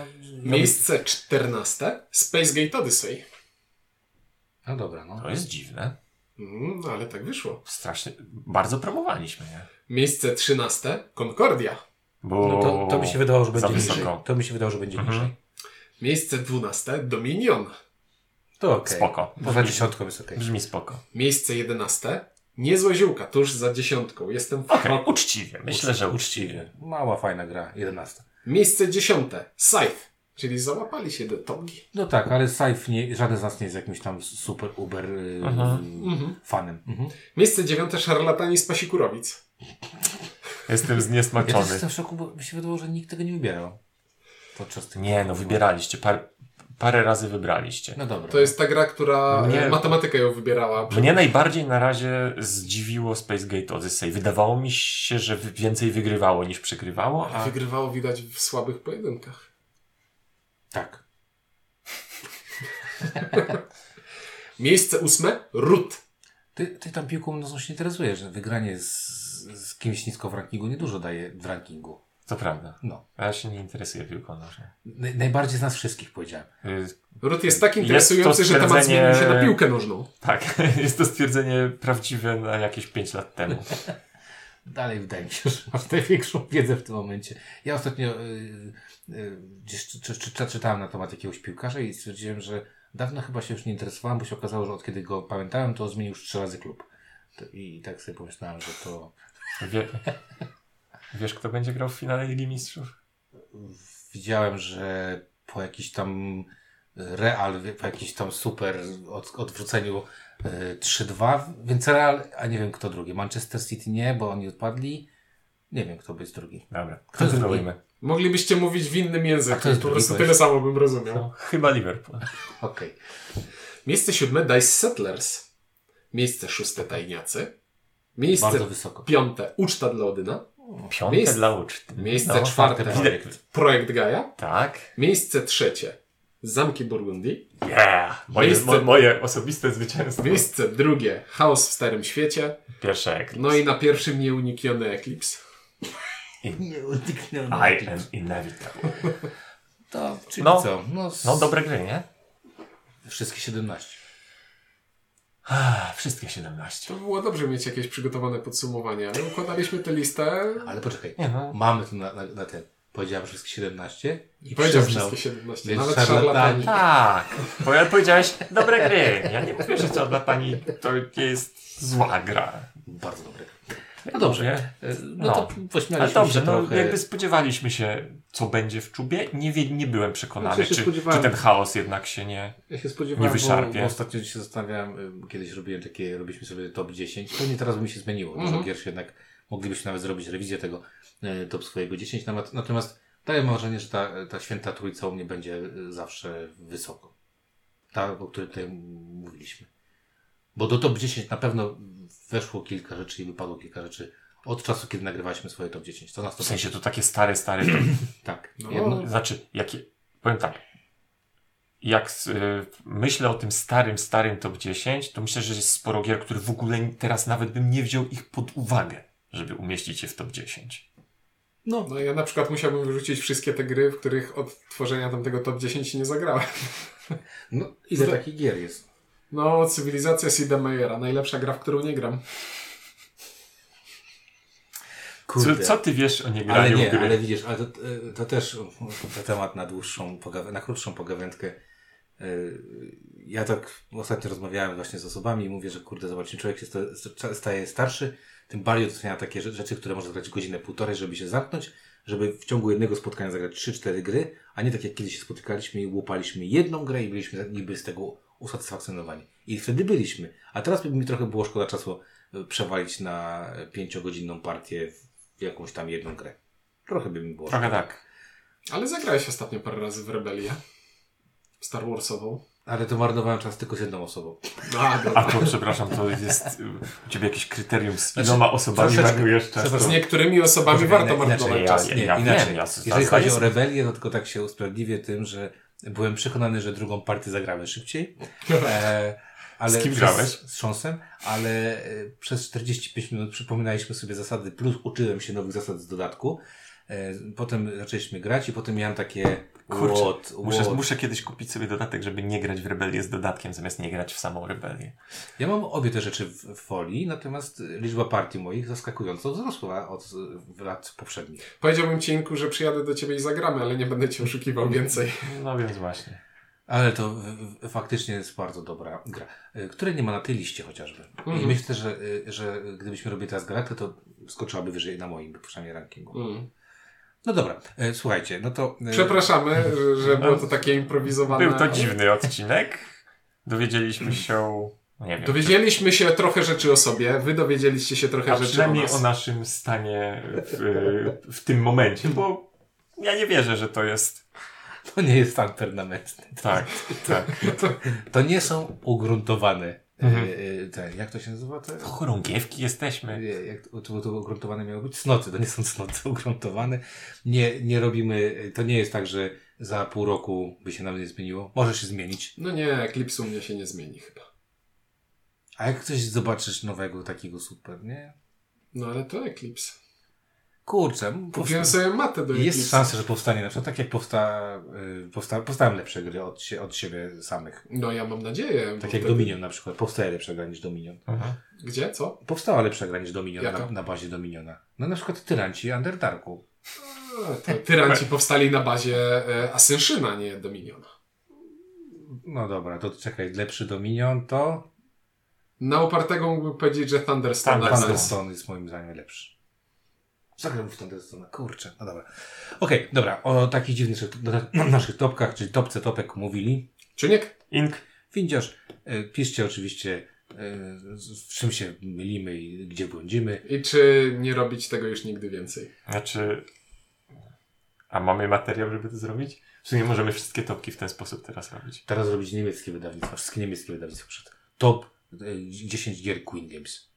Speaker 3: Miejsce 14. Space Gate Odyssey.
Speaker 1: No dobra, no.
Speaker 2: To jest dziwne.
Speaker 3: Mm, no ale tak wyszło.
Speaker 2: Strasznie, bardzo promowaliśmy, nie?
Speaker 3: Miejsce 13. Concordia.
Speaker 2: Bo
Speaker 1: No to, to mi się wydawało, że
Speaker 2: za
Speaker 1: będzie niżej.
Speaker 2: wysoko.
Speaker 1: To mi się wydawało, że będzie
Speaker 2: Mhm.
Speaker 1: niżej.
Speaker 3: Miejsce 12. Dominion.
Speaker 1: To okej.
Speaker 2: Spoko.
Speaker 1: Poza dziesiątką jest okej.
Speaker 2: Brzmi spoko.
Speaker 3: Miejsce 11. Niezłe ziółka, tuż za dziesiątką. Jestem w
Speaker 2: Okej,
Speaker 3: kroku.
Speaker 2: No, uczciwie. Myślę, że uczciwie.
Speaker 1: Mała, fajna gra. Jedenasta.
Speaker 3: Miejsce 10. Scythe. Czyli załapali się do topki.
Speaker 1: No tak, ale Saif nie, żaden z nas nie jest jakimś tam super uber y,
Speaker 2: Aha.
Speaker 3: Mhm.
Speaker 1: fanem. Mhm.
Speaker 3: Miejsce 9. Szarlatani z Pasikurowic.
Speaker 2: Jestem
Speaker 1: Ja też
Speaker 2: zniesmaczony.
Speaker 1: jestem w szoku, bo mi się wydawało, że nikt tego nie wybierał. Podczas tych...
Speaker 2: Nie, no wybieraliście. Par, parę razy wybraliście.
Speaker 1: No dobra.
Speaker 3: To jest ta gra,
Speaker 1: No
Speaker 3: która
Speaker 2: Mnie-
Speaker 3: e, matematyka ją wybierała.
Speaker 2: Mnie najbardziej na razie zdziwiło Space Gate Odyssey. Wydawało mi się, że wy- więcej wygrywało niż przegrywało, a
Speaker 3: Wygrywało widać w słabych pojedynkach.
Speaker 1: Tak.
Speaker 3: Miejsce 8. Root.
Speaker 1: Ty, ty tam piłką nocą się nie interesujesz. Wygranie z, z kimś nisko w rankingu niedużo daje w rankingu.
Speaker 2: to prawda.
Speaker 1: No.
Speaker 2: A Ja się nie interesuję piłką nożną.
Speaker 1: Naj, najbardziej z nas wszystkich powiedziałem.
Speaker 2: Y,
Speaker 3: Root jest tak
Speaker 2: Jest
Speaker 3: interesujący,
Speaker 2: to
Speaker 3: że temat
Speaker 2: stwierdzenie-
Speaker 3: zmienił się na piłkę nożną.
Speaker 2: Tak, jest to stwierdzenie prawdziwe na jakieś 5 lat temu.
Speaker 1: Dalej wydaje mi się, że masz największą wiedzę w tym momencie. Ja ostatnio y, y, gdzieś czy, czy, czy, czytałem na temat jakiegoś piłkarza i stwierdziłem, że dawno chyba się już nie interesowałem, bo się okazało, że od kiedy go pamiętałem, to zmienił już trzy razy klub. To, I tak sobie pomyślałem, że to
Speaker 2: Wie, wiesz, kto będzie grał w finale Ligi Mistrzów?
Speaker 1: widziałem, że po jakiś tam Real, po jakiś tam super od, odwróceniu y, 3-2, więc Real, a nie wiem kto drugi. Manchester City nie, bo oni odpadli. Nie wiem, kto będzie drugi.
Speaker 2: Dobra,
Speaker 1: Kto jest
Speaker 2: kontynuujmy.
Speaker 3: Moglibyście mówić w innym
Speaker 1: A
Speaker 3: języku.
Speaker 1: to jest
Speaker 3: Po prostu
Speaker 1: drugi
Speaker 3: tyle samo bym rozumiał.
Speaker 2: No, chyba Liverpool.
Speaker 1: Okej.
Speaker 3: Miejsce siódme Dice Settlers. Miejsce szóste Tajniacy. Miejsce
Speaker 1: Bardzo wysoko.
Speaker 3: piąte Uczta dla Odyna.
Speaker 2: Piąte
Speaker 3: Miejsce-
Speaker 2: dla uczty.
Speaker 3: Miejsce
Speaker 2: No,
Speaker 3: czwarte
Speaker 1: fajny
Speaker 3: projekt.
Speaker 2: projekt.
Speaker 3: projekt Gaja.
Speaker 2: Tak.
Speaker 3: Miejsce trzecie Zamki Burgundii.
Speaker 2: Yeah. Moje,
Speaker 3: Miejsce-
Speaker 2: mo, moje osobiste zwycięstwo.
Speaker 3: Miejsce drugie Chaos w Starym Świecie.
Speaker 2: Pierwsze ekran.
Speaker 3: No i na pierwszym nieunikiony Eclipse.
Speaker 1: Nie uniknąłem.
Speaker 2: I am inevitable.
Speaker 1: To, czyli
Speaker 2: No.
Speaker 1: co? No, s-
Speaker 2: No dobre gry, nie?
Speaker 1: Wszystkie 17.
Speaker 2: Ah, Wszystkie 17.
Speaker 3: To było dobrze mieć jakieś przygotowane podsumowanie, ale układaliśmy tę listę.
Speaker 1: Ale poczekaj.
Speaker 2: Nie no.
Speaker 1: Mamy tu na, na, na ten. Powiedziałem wszystkie 17 i
Speaker 3: Powiedział
Speaker 1: przyznał.
Speaker 3: wszystkie 17,
Speaker 1: Więc
Speaker 3: nawet
Speaker 1: szarlatani.
Speaker 3: szarlatani.
Speaker 2: Tak. Bo ja powiedziałeś dobre gry. Ja nie mówię, że to dla pani to nie jest zła gra.
Speaker 1: Bardzo dobre. No dobrze. E, No,
Speaker 2: No.
Speaker 1: to pośmialiśmy
Speaker 2: Ale dobrze,
Speaker 1: się
Speaker 2: no
Speaker 1: trochę.
Speaker 2: jakby spodziewaliśmy się, co będzie w czubie. Nie, wie, nie byłem przekonany,
Speaker 1: Znaczy się
Speaker 2: czy,
Speaker 1: spodziewałem.
Speaker 2: czy ten chaos jednak się nie...
Speaker 1: Ja się
Speaker 2: nie
Speaker 1: spodziewałem, bo,
Speaker 2: wyszarpie.
Speaker 1: bo No, ostatnio się zastanawiałem, y, kiedyś robiłem takie, robiliśmy sobie top 10, pewnie teraz by mi się zmieniło, dużo
Speaker 2: Mhm.
Speaker 1: gier się jednak, moglibyśmy nawet zrobić rewizję tego y, top swojego 10, nawet, natomiast daję wrażenie, że ta, ta święta trójca u mnie będzie y, zawsze wysoko. Ta, o której tutaj mówiliśmy. Bo do top 10 na pewno weszło kilka rzeczy i wypadło kilka rzeczy od czasu, kiedy nagrywaliśmy swoje top 10. To na
Speaker 2: W
Speaker 1: 100%.
Speaker 2: sensie to takie stare, stare...
Speaker 1: Tak.
Speaker 3: No.
Speaker 1: Jedno,
Speaker 2: znaczy, jakie... Powiem tak. jak s- y, myślę o tym starym, starym top 10, to myślę, że jest sporo gier, które w ogóle teraz nawet bym nie wziął ich pod uwagę, żeby umieścić je w top 10.
Speaker 1: No,
Speaker 3: No ja na przykład musiałbym wyrzucić wszystkie te gry, w których od tworzenia tamtego top 10 nie zagrałem.
Speaker 1: no ile
Speaker 3: To-
Speaker 1: takich gier jest?
Speaker 3: No, Cywilizacja Sida Meiera, najlepsza gra, w którą nie gram.
Speaker 2: Co, co ty wiesz o niegraniu
Speaker 1: Ale
Speaker 2: w
Speaker 1: nie,
Speaker 2: gry?
Speaker 1: ale widzisz, ale to, to też to temat na dłuższą, pogaw- na krótszą pogawędkę. Yy, Ja tak ostatnio rozmawiałem właśnie z osobami i mówię, że kurde, zobacz, im człowiek się sta- sta- staje starszy, tym bardziej docenia takie rze- rzeczy, które można zagrać godzinę, półtorej, żeby się zamknąć, żeby w ciągu jednego spotkania zagrać 3-4 gry, a nie tak jak kiedyś się spotykaliśmy i łupaliśmy jedną grę i byliśmy tak niby z tego usatysfakcjonowani. I wtedy byliśmy. A teraz by mi trochę było szkoda czasu y, przewalić na e, pięciogodzinną partię w jakąś tam jedną grę. Trochę by mi było
Speaker 2: Trochę
Speaker 1: szkoda.
Speaker 2: tak.
Speaker 3: Ale zagrałeś ostatnio parę razy w Rebelię. Star Warsową. No,
Speaker 1: Ale to marnowałem czas tylko z jedną osobą.
Speaker 3: A,
Speaker 2: A
Speaker 3: dobra.
Speaker 2: to, przepraszam, to jest y, u ciebie jakieś kryterium z iloma osobami
Speaker 1: Znaczy, troszeczkę-
Speaker 2: marnujesz czas.
Speaker 3: Z
Speaker 1: przepraszam,
Speaker 3: niektórymi osobami
Speaker 1: Poczekaj,
Speaker 3: warto
Speaker 1: inaczej,
Speaker 3: marnować czas.
Speaker 2: Ja-
Speaker 1: Nie,
Speaker 2: ja
Speaker 1: inaczej.
Speaker 2: wiem, ja
Speaker 1: Jeżeli
Speaker 2: zdaję
Speaker 1: chodzi o
Speaker 2: sobie-
Speaker 1: rebelię, to tylko tak się usprawiedliwię tym, że byłem przekonany, że drugą partię zagramy szybciej. E, ale
Speaker 2: Z kim
Speaker 1: przez-
Speaker 2: grałeś?
Speaker 1: Z Sząsem, ale e, przez 45 minut przypominaliśmy sobie zasady, plus uczyłem się nowych zasad z dodatku. E, potem zaczęliśmy grać i potem miałem takie
Speaker 2: Kurczę,
Speaker 1: what,
Speaker 2: Muszę,
Speaker 1: what.
Speaker 2: muszę kiedyś kupić sobie dodatek, żeby nie grać w rebelię z dodatkiem, zamiast nie grać w samą rebelię.
Speaker 1: Ja mam obie te rzeczy w w folii, natomiast liczba partii moich zaskakująco wzrosła od e, lat poprzednich.
Speaker 3: Powiedziałbym ci, Inku, że przyjadę do ciebie i zagramy, ale nie będę cię oszukiwał więcej.
Speaker 2: No więc właśnie.
Speaker 1: Ale to w- w- faktycznie jest bardzo dobra gra, e, której nie ma na tej liście chociażby. I
Speaker 3: Mhm.
Speaker 1: myślę, że, e, że gdybyśmy robili teraz galaktykę, to skoczyłaby wyżej na moim przynajmniej rankingu.
Speaker 3: Mm.
Speaker 1: No dobra, e, słuchajcie, no to... e,
Speaker 3: Przepraszamy, że, że było to takie improwizowane.
Speaker 2: Był to
Speaker 3: ale-
Speaker 2: dziwny odcinek. Dowiedzieliśmy się, nie wiem,
Speaker 3: Dowiedzieliśmy się trochę rzeczy o sobie, wy dowiedzieliście się trochę
Speaker 2: a
Speaker 3: rzeczy o
Speaker 2: przynajmniej o
Speaker 3: nas.
Speaker 2: naszym stanie w, y, w tym momencie, bo ja nie wierzę, że to jest
Speaker 1: To nie jest stan permanentny.
Speaker 2: tak, tak.
Speaker 1: To nie są ugruntowane... e,
Speaker 2: Mhm.
Speaker 1: e, Te, jak to się nazywa? Te,
Speaker 2: Chorągiewki jesteśmy.
Speaker 1: Nie, jak to, to, to ugruntowane miało być? Cnoty, to nie są cnoty ugruntowane. Nie, nie robimy, to nie jest tak, że za pół roku by się nam nie zmieniło. Może się zmienić.
Speaker 3: No nie, Eclipse u mnie się nie zmieni chyba.
Speaker 1: A jak coś zobaczysz nowego, takiego super, nie?
Speaker 3: No ale to Eclipse.
Speaker 1: Kurczę,
Speaker 3: Kupiłem
Speaker 1: powsta-
Speaker 3: sobie matę do
Speaker 1: jest
Speaker 3: Eclipse.
Speaker 1: szansa, że powstanie na przykład tak jak powsta, y, powsta, powstały lepsze gry od, sie, od siebie samych.
Speaker 3: No ja mam nadzieję.
Speaker 1: Tak
Speaker 3: bo
Speaker 1: jak
Speaker 3: te-
Speaker 1: Dominion na przykład. Powstaje lepsza gra niż Dominion.
Speaker 2: Mhm.
Speaker 3: Gdzie? Co?
Speaker 1: Powstała lepsza gra niż Dominion
Speaker 3: Jaka?
Speaker 1: na, na bazie Dominiona. No na przykład Tyranci Underdarku.
Speaker 3: A, to tyranci powstali na bazie e, Asynszyna, nie Dominiona.
Speaker 1: No dobra, to czekaj, lepszy Dominion to...
Speaker 3: Na opartego mógłbym powiedzieć, że Thunderstone.
Speaker 2: Thunderstone.
Speaker 3: ale-
Speaker 1: Tak, Thunderstone jest moim zdaniem lepszy. Zagram w Thunderstone, kurczę. No dobra. Okej, dobra. O takich dziwnych rzeczach, na- na naszych topkach, czyli topce topek mówili.
Speaker 3: Czuniek?
Speaker 2: Ink,
Speaker 1: Windziarz, e, piszcie oczywiście, e, z- w czym się mylimy i gdzie błądzimy.
Speaker 3: I czy nie robić tego już nigdy więcej?
Speaker 2: znaczy... A mamy materiał, żeby to zrobić? W sumie możemy wszystkie topki w ten sposób teraz robić.
Speaker 1: Teraz robić niemieckie wydawnictwa, wszystkie niemieckie wydawnictwa przed. Top e, 10 gier Queen Games.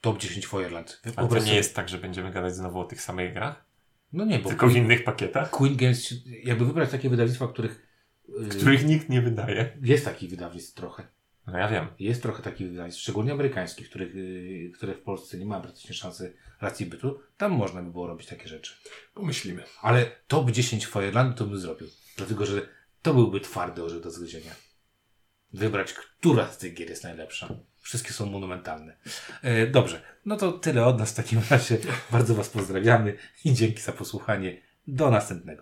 Speaker 1: Top 10 Fireland.
Speaker 2: Ale to nie jest tak, że będziemy gadać znowu o tych samych grach,
Speaker 1: No nie, bo
Speaker 2: tylko w
Speaker 1: Queen,
Speaker 2: innych pakietach,
Speaker 1: Queen Games, się- jakby wybrać takie wydawnictwa, których... e,
Speaker 2: których nikt nie wydaje.
Speaker 1: Jest takich wydawnictw trochę.
Speaker 2: No ja wiem.
Speaker 1: Jest trochę takich wydań, szczególnie amerykańskich, których, y, które w Polsce nie ma praktycznie szansy racji bytu. Tam można by było robić takie rzeczy.
Speaker 3: Pomyślimy.
Speaker 1: Ale top 10 Firelandu to bym zrobił. Dlatego, że to byłby twardy orzeł do zgryzienia. Wybrać, która z tych gier jest najlepsza. Wszystkie są monumentalne. E, dobrze, no to tyle od nas w takim razie. Bardzo Was pozdrawiamy i dzięki za posłuchanie. Do następnego.